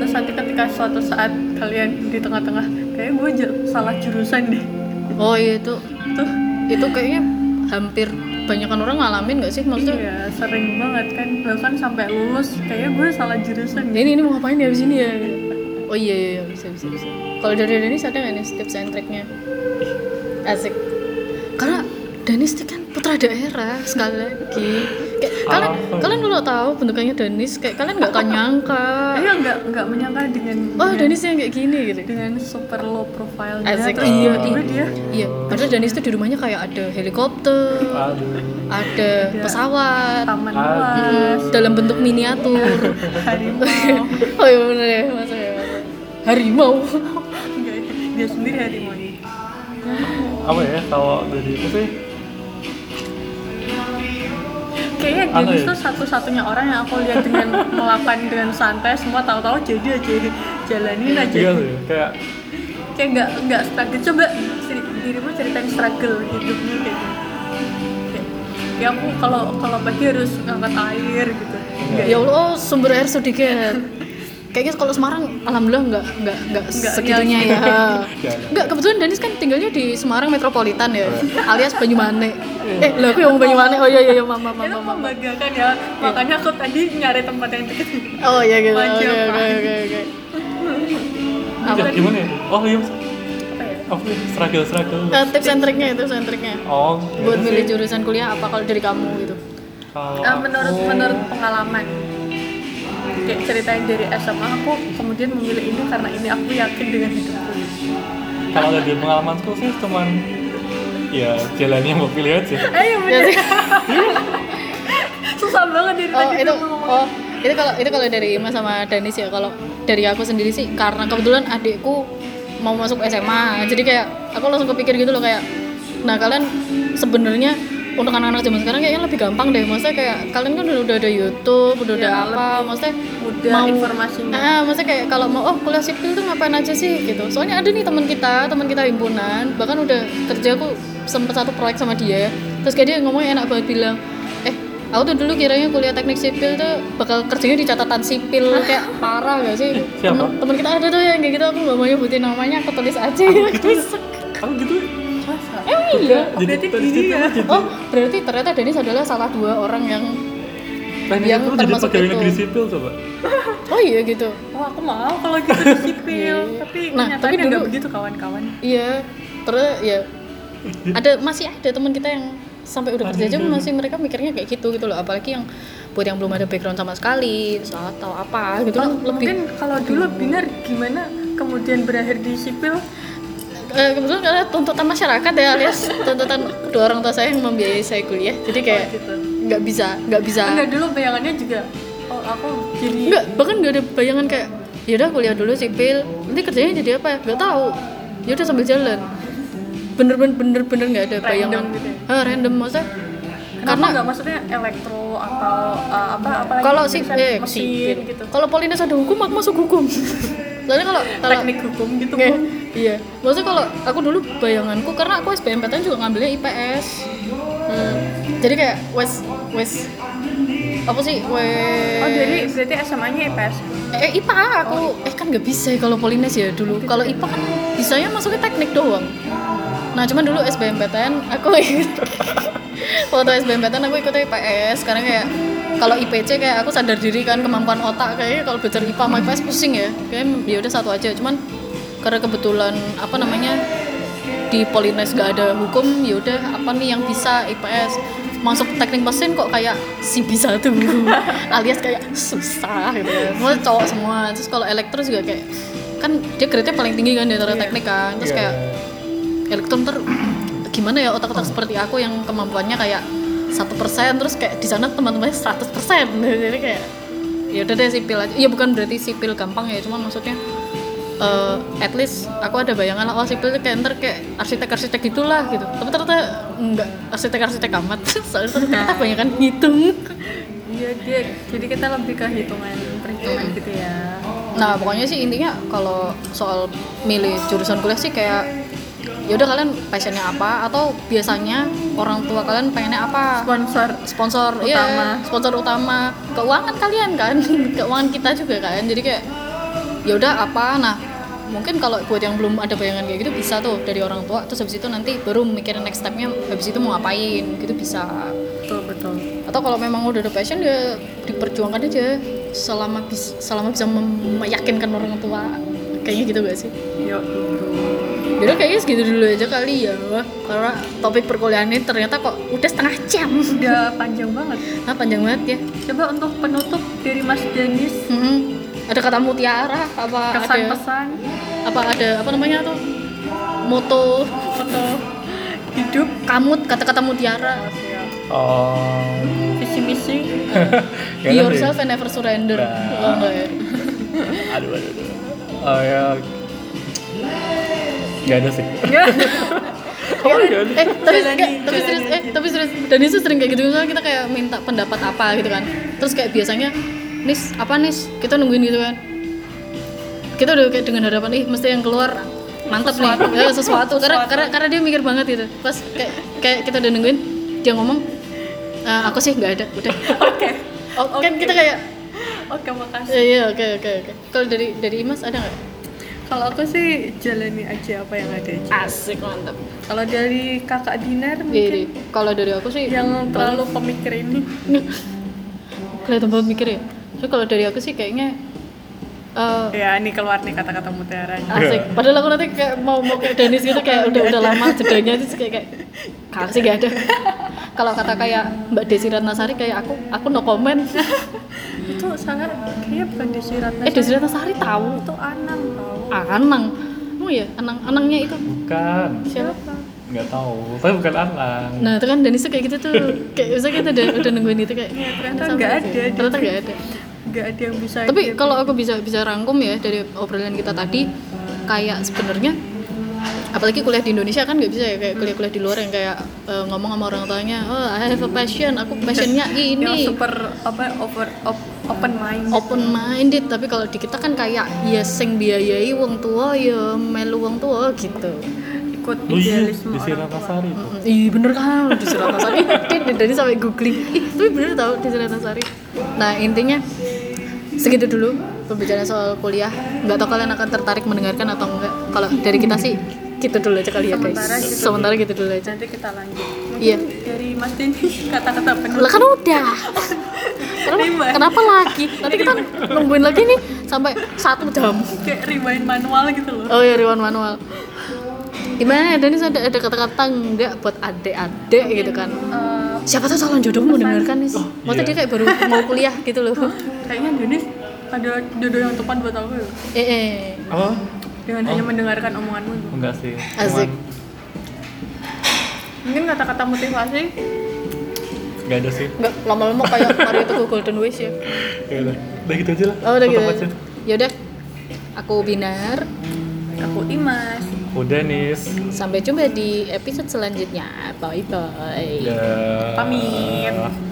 Speaker 2: terus nanti ketika suatu saat kalian di tengah-tengah kayak gue ju- salah jurusan deh
Speaker 1: oh iya itu
Speaker 2: tuh
Speaker 1: itu kayaknya hampir banyakan orang ngalamin nggak sih maksudnya
Speaker 2: iya sering banget kan bahkan sampai lulus kayaknya gue salah jurusan deh
Speaker 1: ini ini mau ngapain ya abis ini ya oh iya iya iya, bisa bisa bisa kalau dari Denis ada nggak nih tips and triknya asik karena Danis itu kan putra daerah sekali lagi kayak, kalian
Speaker 3: Apa?
Speaker 1: kalian kalau tahu bentukannya Danis kayak kalian nggak akan nyangka
Speaker 2: iya nggak nggak menyangka dengan
Speaker 1: oh
Speaker 2: dengan,
Speaker 1: Danis yang kayak gini gitu
Speaker 2: dengan super low profile
Speaker 1: Asik.
Speaker 2: terus
Speaker 1: Iya,
Speaker 2: tiba-tiba dia
Speaker 1: iya padahal Danis itu di rumahnya kayak ada helikopter
Speaker 3: Aduh.
Speaker 1: ada pesawat
Speaker 2: taman
Speaker 3: Aduh.
Speaker 2: luas
Speaker 1: dalam bentuk miniatur
Speaker 2: harimau
Speaker 1: oh iya bener ya masa ya masa. harimau
Speaker 2: Enggak, dia sendiri harimau ini
Speaker 3: Apa ya kalau dari itu sih?
Speaker 2: kayaknya
Speaker 3: Apa
Speaker 2: Dennis
Speaker 3: ya?
Speaker 2: tuh satu-satunya orang yang aku lihat dengan melakukan dengan santai semua tahu-tahu jadi aja ini jalanin aja
Speaker 3: Iya sih, kayak
Speaker 2: kayak nggak nggak struggle coba seri- dirimu ceritain struggle hidupnya kayak gitu Kayak, ya aku kalau kalau pagi harus ngangkat air gitu
Speaker 3: Iya.
Speaker 2: Nggak-
Speaker 1: ya Allah sumber air sedikit kayaknya kalau Semarang alhamdulillah nggak nggak nggak
Speaker 2: Nggak,
Speaker 1: segitunya
Speaker 2: iya.
Speaker 1: ya nggak kebetulan Danis kan tinggalnya di Semarang metropolitan ya alias Banyumanek eh lah aku yang mau Banyumanek oh iya iya iya, mama
Speaker 2: itu
Speaker 1: mama mama
Speaker 2: membanggakan ya makanya aku tadi nyari tempat yang deket
Speaker 1: oh iya gitu oke
Speaker 2: Maju,
Speaker 1: oke
Speaker 2: Pak.
Speaker 1: oke oke
Speaker 3: ya,
Speaker 1: Apa?
Speaker 3: gimana ya? Oh iya,
Speaker 2: apa ya
Speaker 3: apa sih? Struggle-struggle.
Speaker 1: Eh, tips and triknya tips and triknya
Speaker 3: Oh,
Speaker 1: buat
Speaker 3: gitu
Speaker 1: milih
Speaker 3: sih.
Speaker 1: jurusan kuliah apa kalau dari kamu gitu
Speaker 3: Kalau
Speaker 2: Eh, menurut
Speaker 3: aku-
Speaker 2: menurut pengalaman kayak ceritain dari SMA aku kemudian memilih ini karena ini aku yakin dengan hidupku
Speaker 3: kalau dari pengalamanku sih cuman ya jalannya mau pilih aja.
Speaker 2: eh iya
Speaker 1: Ya
Speaker 2: bener
Speaker 1: sih.
Speaker 2: susah banget dari
Speaker 1: oh
Speaker 2: tadi
Speaker 1: itu
Speaker 2: tuh ngomong.
Speaker 1: oh itu kalau itu kalau dari Ima sama Danis ya kalau dari aku sendiri sih karena kebetulan adikku mau masuk SMA jadi kayak aku langsung kepikir gitu loh kayak nah kalian sebenarnya untuk anak-anak zaman sekarang kayaknya lebih gampang deh maksudnya kayak kalian kan udah, udah ada YouTube udah
Speaker 2: Ya,
Speaker 1: ada apa maksudnya
Speaker 2: mudah informasinya.
Speaker 1: ah maksudnya kayak kalau mau oh kuliah sipil tuh ngapain aja sih gitu soalnya ada nih teman kita teman kita himpunan bahkan udah kerja aku sempet satu proyek sama dia terus kayak dia ngomongnya enak banget bilang eh aku tuh dulu kiranya kuliah teknik sipil tuh bakal kerjanya di catatan sipil kayak parah gak sih
Speaker 3: Siapa?
Speaker 1: temen, temen kita ada tuh yang kayak gitu aku gak mau nyebutin namanya aku tulis aja ya Klisek.
Speaker 3: Kamu gitu.
Speaker 2: Masa?
Speaker 1: emang iya
Speaker 2: Berarti gini ya.
Speaker 1: oh berarti ternyata Denis adalah salah dua orang yang
Speaker 3: yang
Speaker 1: yang
Speaker 3: jadi
Speaker 1: termasuk
Speaker 3: pegawai
Speaker 1: itu.
Speaker 3: negeri sipil coba.
Speaker 1: oh iya gitu
Speaker 2: wah Eh, aku mau kalau gitu di sipil tapi
Speaker 1: Nah, tapi
Speaker 2: kenyataannya nggak
Speaker 1: dulu-
Speaker 2: begitu kawan-kawan
Speaker 1: Iya, terus ya ada masih ada teman kita yang sampai udah kerja aja masih mereka mikirnya kayak gitu gitu loh apalagi yang buat yang belum ada background sama sekali terus atau apa gitu kan
Speaker 2: Kalau- mungkin
Speaker 1: lebih
Speaker 2: kalau dulu bener gimana kemudian berakhir di sipil
Speaker 1: eh, kebetulan karena tuntutan masyarakat ya alias tuntutan dua orang tua saya yang membiayai saya kuliah jadi kayak
Speaker 2: oh, gitu.
Speaker 1: nggak bisa nggak bisa
Speaker 2: enggak dulu bayangannya juga oh aku jadi
Speaker 1: nggak bahkan nggak ada bayangan kayak yaudah kuliah dulu sipil nanti kerjanya jadi apa ya nggak tahu yaudah sambil jalan bener-bener bener-bener nggak ada
Speaker 2: Random
Speaker 1: bayangan
Speaker 2: gitu ya?
Speaker 1: Ah, random maksudnya
Speaker 2: Kenapa nggak maksudnya elektro atau uh, apa apa lagi
Speaker 1: kalau sih
Speaker 2: jurusan
Speaker 1: eh,
Speaker 2: mesin
Speaker 1: sipil.
Speaker 2: gitu
Speaker 1: kalau Polines ada hukum aku masuk hukum soalnya kalau kalau
Speaker 2: teknik hukum gitu
Speaker 1: Oke,
Speaker 2: Bu.
Speaker 1: iya maksudnya kalau aku dulu bayanganku karena aku SBMPTN kan juga ngambilnya IPS Hmm, jadi kayak wes wes apa sih wes
Speaker 2: oh jadi berarti SMA-nya IPS
Speaker 1: eh IPA aku eh kan nggak bisa ya kalau Polines ya dulu kalau IPA kan bisanya masuknya teknik doang nah cuman dulu SBMPTN aku ikut waktu SBMPTN aku ikut IPS karena kayak kalau IPC kayak aku sadar diri kan kemampuan otak kayaknya kalau belajar IPA sama IPS pusing ya kayak ya udah satu aja cuman karena kebetulan apa namanya di Polines nggak ada hukum ya udah apa nih yang bisa IPS masuk teknik mesin kok kayak si bisa tuh alias kayak susah gitu ya. Maksudnya cowok semua terus kalau elektro juga kayak kan dia grade-nya paling tinggi kan di antara teknik kan terus
Speaker 3: Iya.
Speaker 1: kayak elektron Ya, ter gimana ya otak-otak seperti aku yang kemampuannya kayak satu persen terus kayak di sana teman-temannya 100% jadi kayak ya udah deh sipil aja ya bukan berarti sipil gampang ya cuman maksudnya eh, at least aku ada bayangan lah oh sipil tuh kayak ntar kayak arsitek arsitek gitulah gitu tapi ternyata nggak arsitek arsitek amat soalnya arsitek kita banyak kan ngitung
Speaker 2: Iya dia. Jadi kita lebih ke hitungan perhitungan gitu ya.
Speaker 1: nah pokoknya sih intinya kalau soal milih jurusan kuliah sih kayak ya udah kalian passionnya apa atau biasanya orang tua kalian pengennya apa
Speaker 2: Sponsor.
Speaker 1: sponsor
Speaker 2: Utama.
Speaker 1: iya, sponsor utama keuangan kalian kan keuangan kita juga kan jadi kayak ya udah apa nah mungkin kalau buat yang belum ada bayangan kayak gitu bisa tuh dari orang tua terus habis itu nanti baru mikirin next stepnya habis itu mau ngapain gitu bisa
Speaker 2: Betul betul.
Speaker 1: atau kalau memang udah ada passion ya diperjuangkan aja selama bis- selama bisa mem- meyakinkan orang tua kayaknya gitu gak sih
Speaker 2: Yuk.
Speaker 1: jadi kayaknya segitu dulu aja kali ya karena topik perkuliahannya ternyata kok udah setengah jam
Speaker 2: Udah panjang banget.
Speaker 1: nah panjang banget ya
Speaker 2: Coba untuk penutup dari Mas Denis
Speaker 1: Mm-mm. ada kata mutiara apa
Speaker 2: kesan
Speaker 1: ada
Speaker 2: pesan
Speaker 1: apa ada apa namanya tuh moto
Speaker 2: atau hidup
Speaker 1: kamut kata-kata mutiara
Speaker 3: oh
Speaker 2: visi misi
Speaker 1: be
Speaker 3: kayaknya
Speaker 1: yourself eh? and never surrender
Speaker 3: ya? Nah.
Speaker 1: Oh, enggak ya?
Speaker 3: deh. aduh aduh aduh oh ya nggak ada sih
Speaker 2: Iya.
Speaker 3: oh iya
Speaker 1: eh tapi
Speaker 2: Jalan
Speaker 1: enggak,
Speaker 2: nih,
Speaker 1: tapi
Speaker 2: jalan
Speaker 1: serius
Speaker 2: nih.
Speaker 1: eh tapi serius dan itu sering kayak gitu kan kita kayak minta pendapat apa gitu kan terus kayak biasanya nis apa nis kita nungguin gitu kan kita udah kayak dengan harapan ih mesti yang keluar mantap nih Ya, sesuatu karena
Speaker 2: Sesuatu.
Speaker 1: karena karena dia mikir banget gitu pas kayak kayak kita udah nungguin dia ngomong "Eh, aku sih nggak ada udah
Speaker 2: Oke.
Speaker 1: oh, kan kita kayak
Speaker 2: Oke makasih.
Speaker 1: "Ya, iya oke oke oke kalau dari dari Imas ada nggak
Speaker 2: Kalau aku sih jalani aja apa yang ada aja.
Speaker 1: asik mantap
Speaker 2: Kalau dari kakak Dinar
Speaker 1: jadi
Speaker 2: mungkin
Speaker 1: kalau dari aku sih
Speaker 2: yang terlalu pemikir ini
Speaker 1: kelihatan banget mikir ya so kalau dari aku sih kayaknya eh,
Speaker 2: ya ini keluar nih kata-kata mutiaranya
Speaker 1: asik padahal aku nanti kayak mau mau kayak Dennis gitu kayak udah udah lama jedanya terus kayak kayak "Gak sih gak ada kalau kata kayak Mbak Desi Ratnasari kayak aku aku no comment
Speaker 2: itu salah kayaknya bukan Desi Ratnasari
Speaker 1: eh Desi Ratnasari tahu
Speaker 2: itu Anang tau
Speaker 1: Anang oh ya Anang Anangnya itu
Speaker 3: bukan
Speaker 1: siapa
Speaker 3: nggak tahu tapi bukan Anang
Speaker 1: nah itu kan Dennis tuh kayak gitu tuh kayak usah kita udah, udah nungguin itu kayak
Speaker 2: ternyata
Speaker 1: sama
Speaker 2: nggak
Speaker 1: sih.
Speaker 2: ada.
Speaker 1: ternyata nggak ada
Speaker 2: nggak ada yang bisa
Speaker 1: tapi
Speaker 2: dia-
Speaker 1: kalau aku bisa bisa rangkum ya dari obrolan kita tadi kayak sebenarnya apalagi kuliah di Indonesia kan nggak bisa ya kayak kuliah-kuliah di luar yang kayak eh, ngomong sama orang tuanya oh I have a passion aku passionnya
Speaker 2: yang
Speaker 1: ini
Speaker 2: super apa over op- open mind
Speaker 1: open minded tapi kalau di kita kan kayak ya sing biayai wong tua ya melu wong tua gitu
Speaker 2: ikut
Speaker 3: oh iya
Speaker 2: idealisme
Speaker 3: di
Speaker 2: orang tua
Speaker 3: Sari itu
Speaker 1: Mm, Ih bener kan di Sari Dari sampai googling Ih tapi bener tau di Sari Nah intinya segitu dulu pembicaraan soal kuliah Nggak tahu kalian akan tertarik mendengarkan atau enggak Kalau dari kita sih gitu dulu aja kali ya guys
Speaker 2: Sementara gitu.
Speaker 1: Sementara gitu dulu aja
Speaker 2: nanti kita lanjut
Speaker 1: Iya.
Speaker 2: dari Mas Denny kata-kata
Speaker 1: lah
Speaker 2: penutup
Speaker 1: kan udah Kenapa,
Speaker 2: Lima.
Speaker 1: kenapa lagi? Nanti kita nungguin lagi nih sampai satu jam
Speaker 2: kayak rewind manual gitu loh
Speaker 1: Oh iya Riwan manual Gimana Danis ada, ada kata-kata enggak buat adik-adik gitu kan
Speaker 2: Eh,
Speaker 1: siapa tuh calon jodohmu mendengarkan nih maksudnya
Speaker 3: iya. Oh.
Speaker 1: dia kayak baru mau kuliah gitu loh
Speaker 2: kayaknya Denny ada jodoh yang tepat buat aku ya.
Speaker 1: eh, eh.
Speaker 3: oh
Speaker 2: dengan hanya mendengarkan omonganmu itu.
Speaker 3: enggak sih
Speaker 1: Asik.
Speaker 3: Cuman-
Speaker 2: mungkin kata-kata motivasi
Speaker 3: Gak ada sih.
Speaker 1: nggak lama-lama kayak Mario itu golden wish ya
Speaker 3: Ya udah. Udah gitu aja lah.
Speaker 1: oh udah
Speaker 3: Tutup
Speaker 1: gitu
Speaker 3: aja.
Speaker 1: yaudah aku Binar
Speaker 2: aku Imas
Speaker 3: Udah Nis.
Speaker 1: sampai jumpa di episode selanjutnya bye bye
Speaker 3: Dah.
Speaker 2: pamit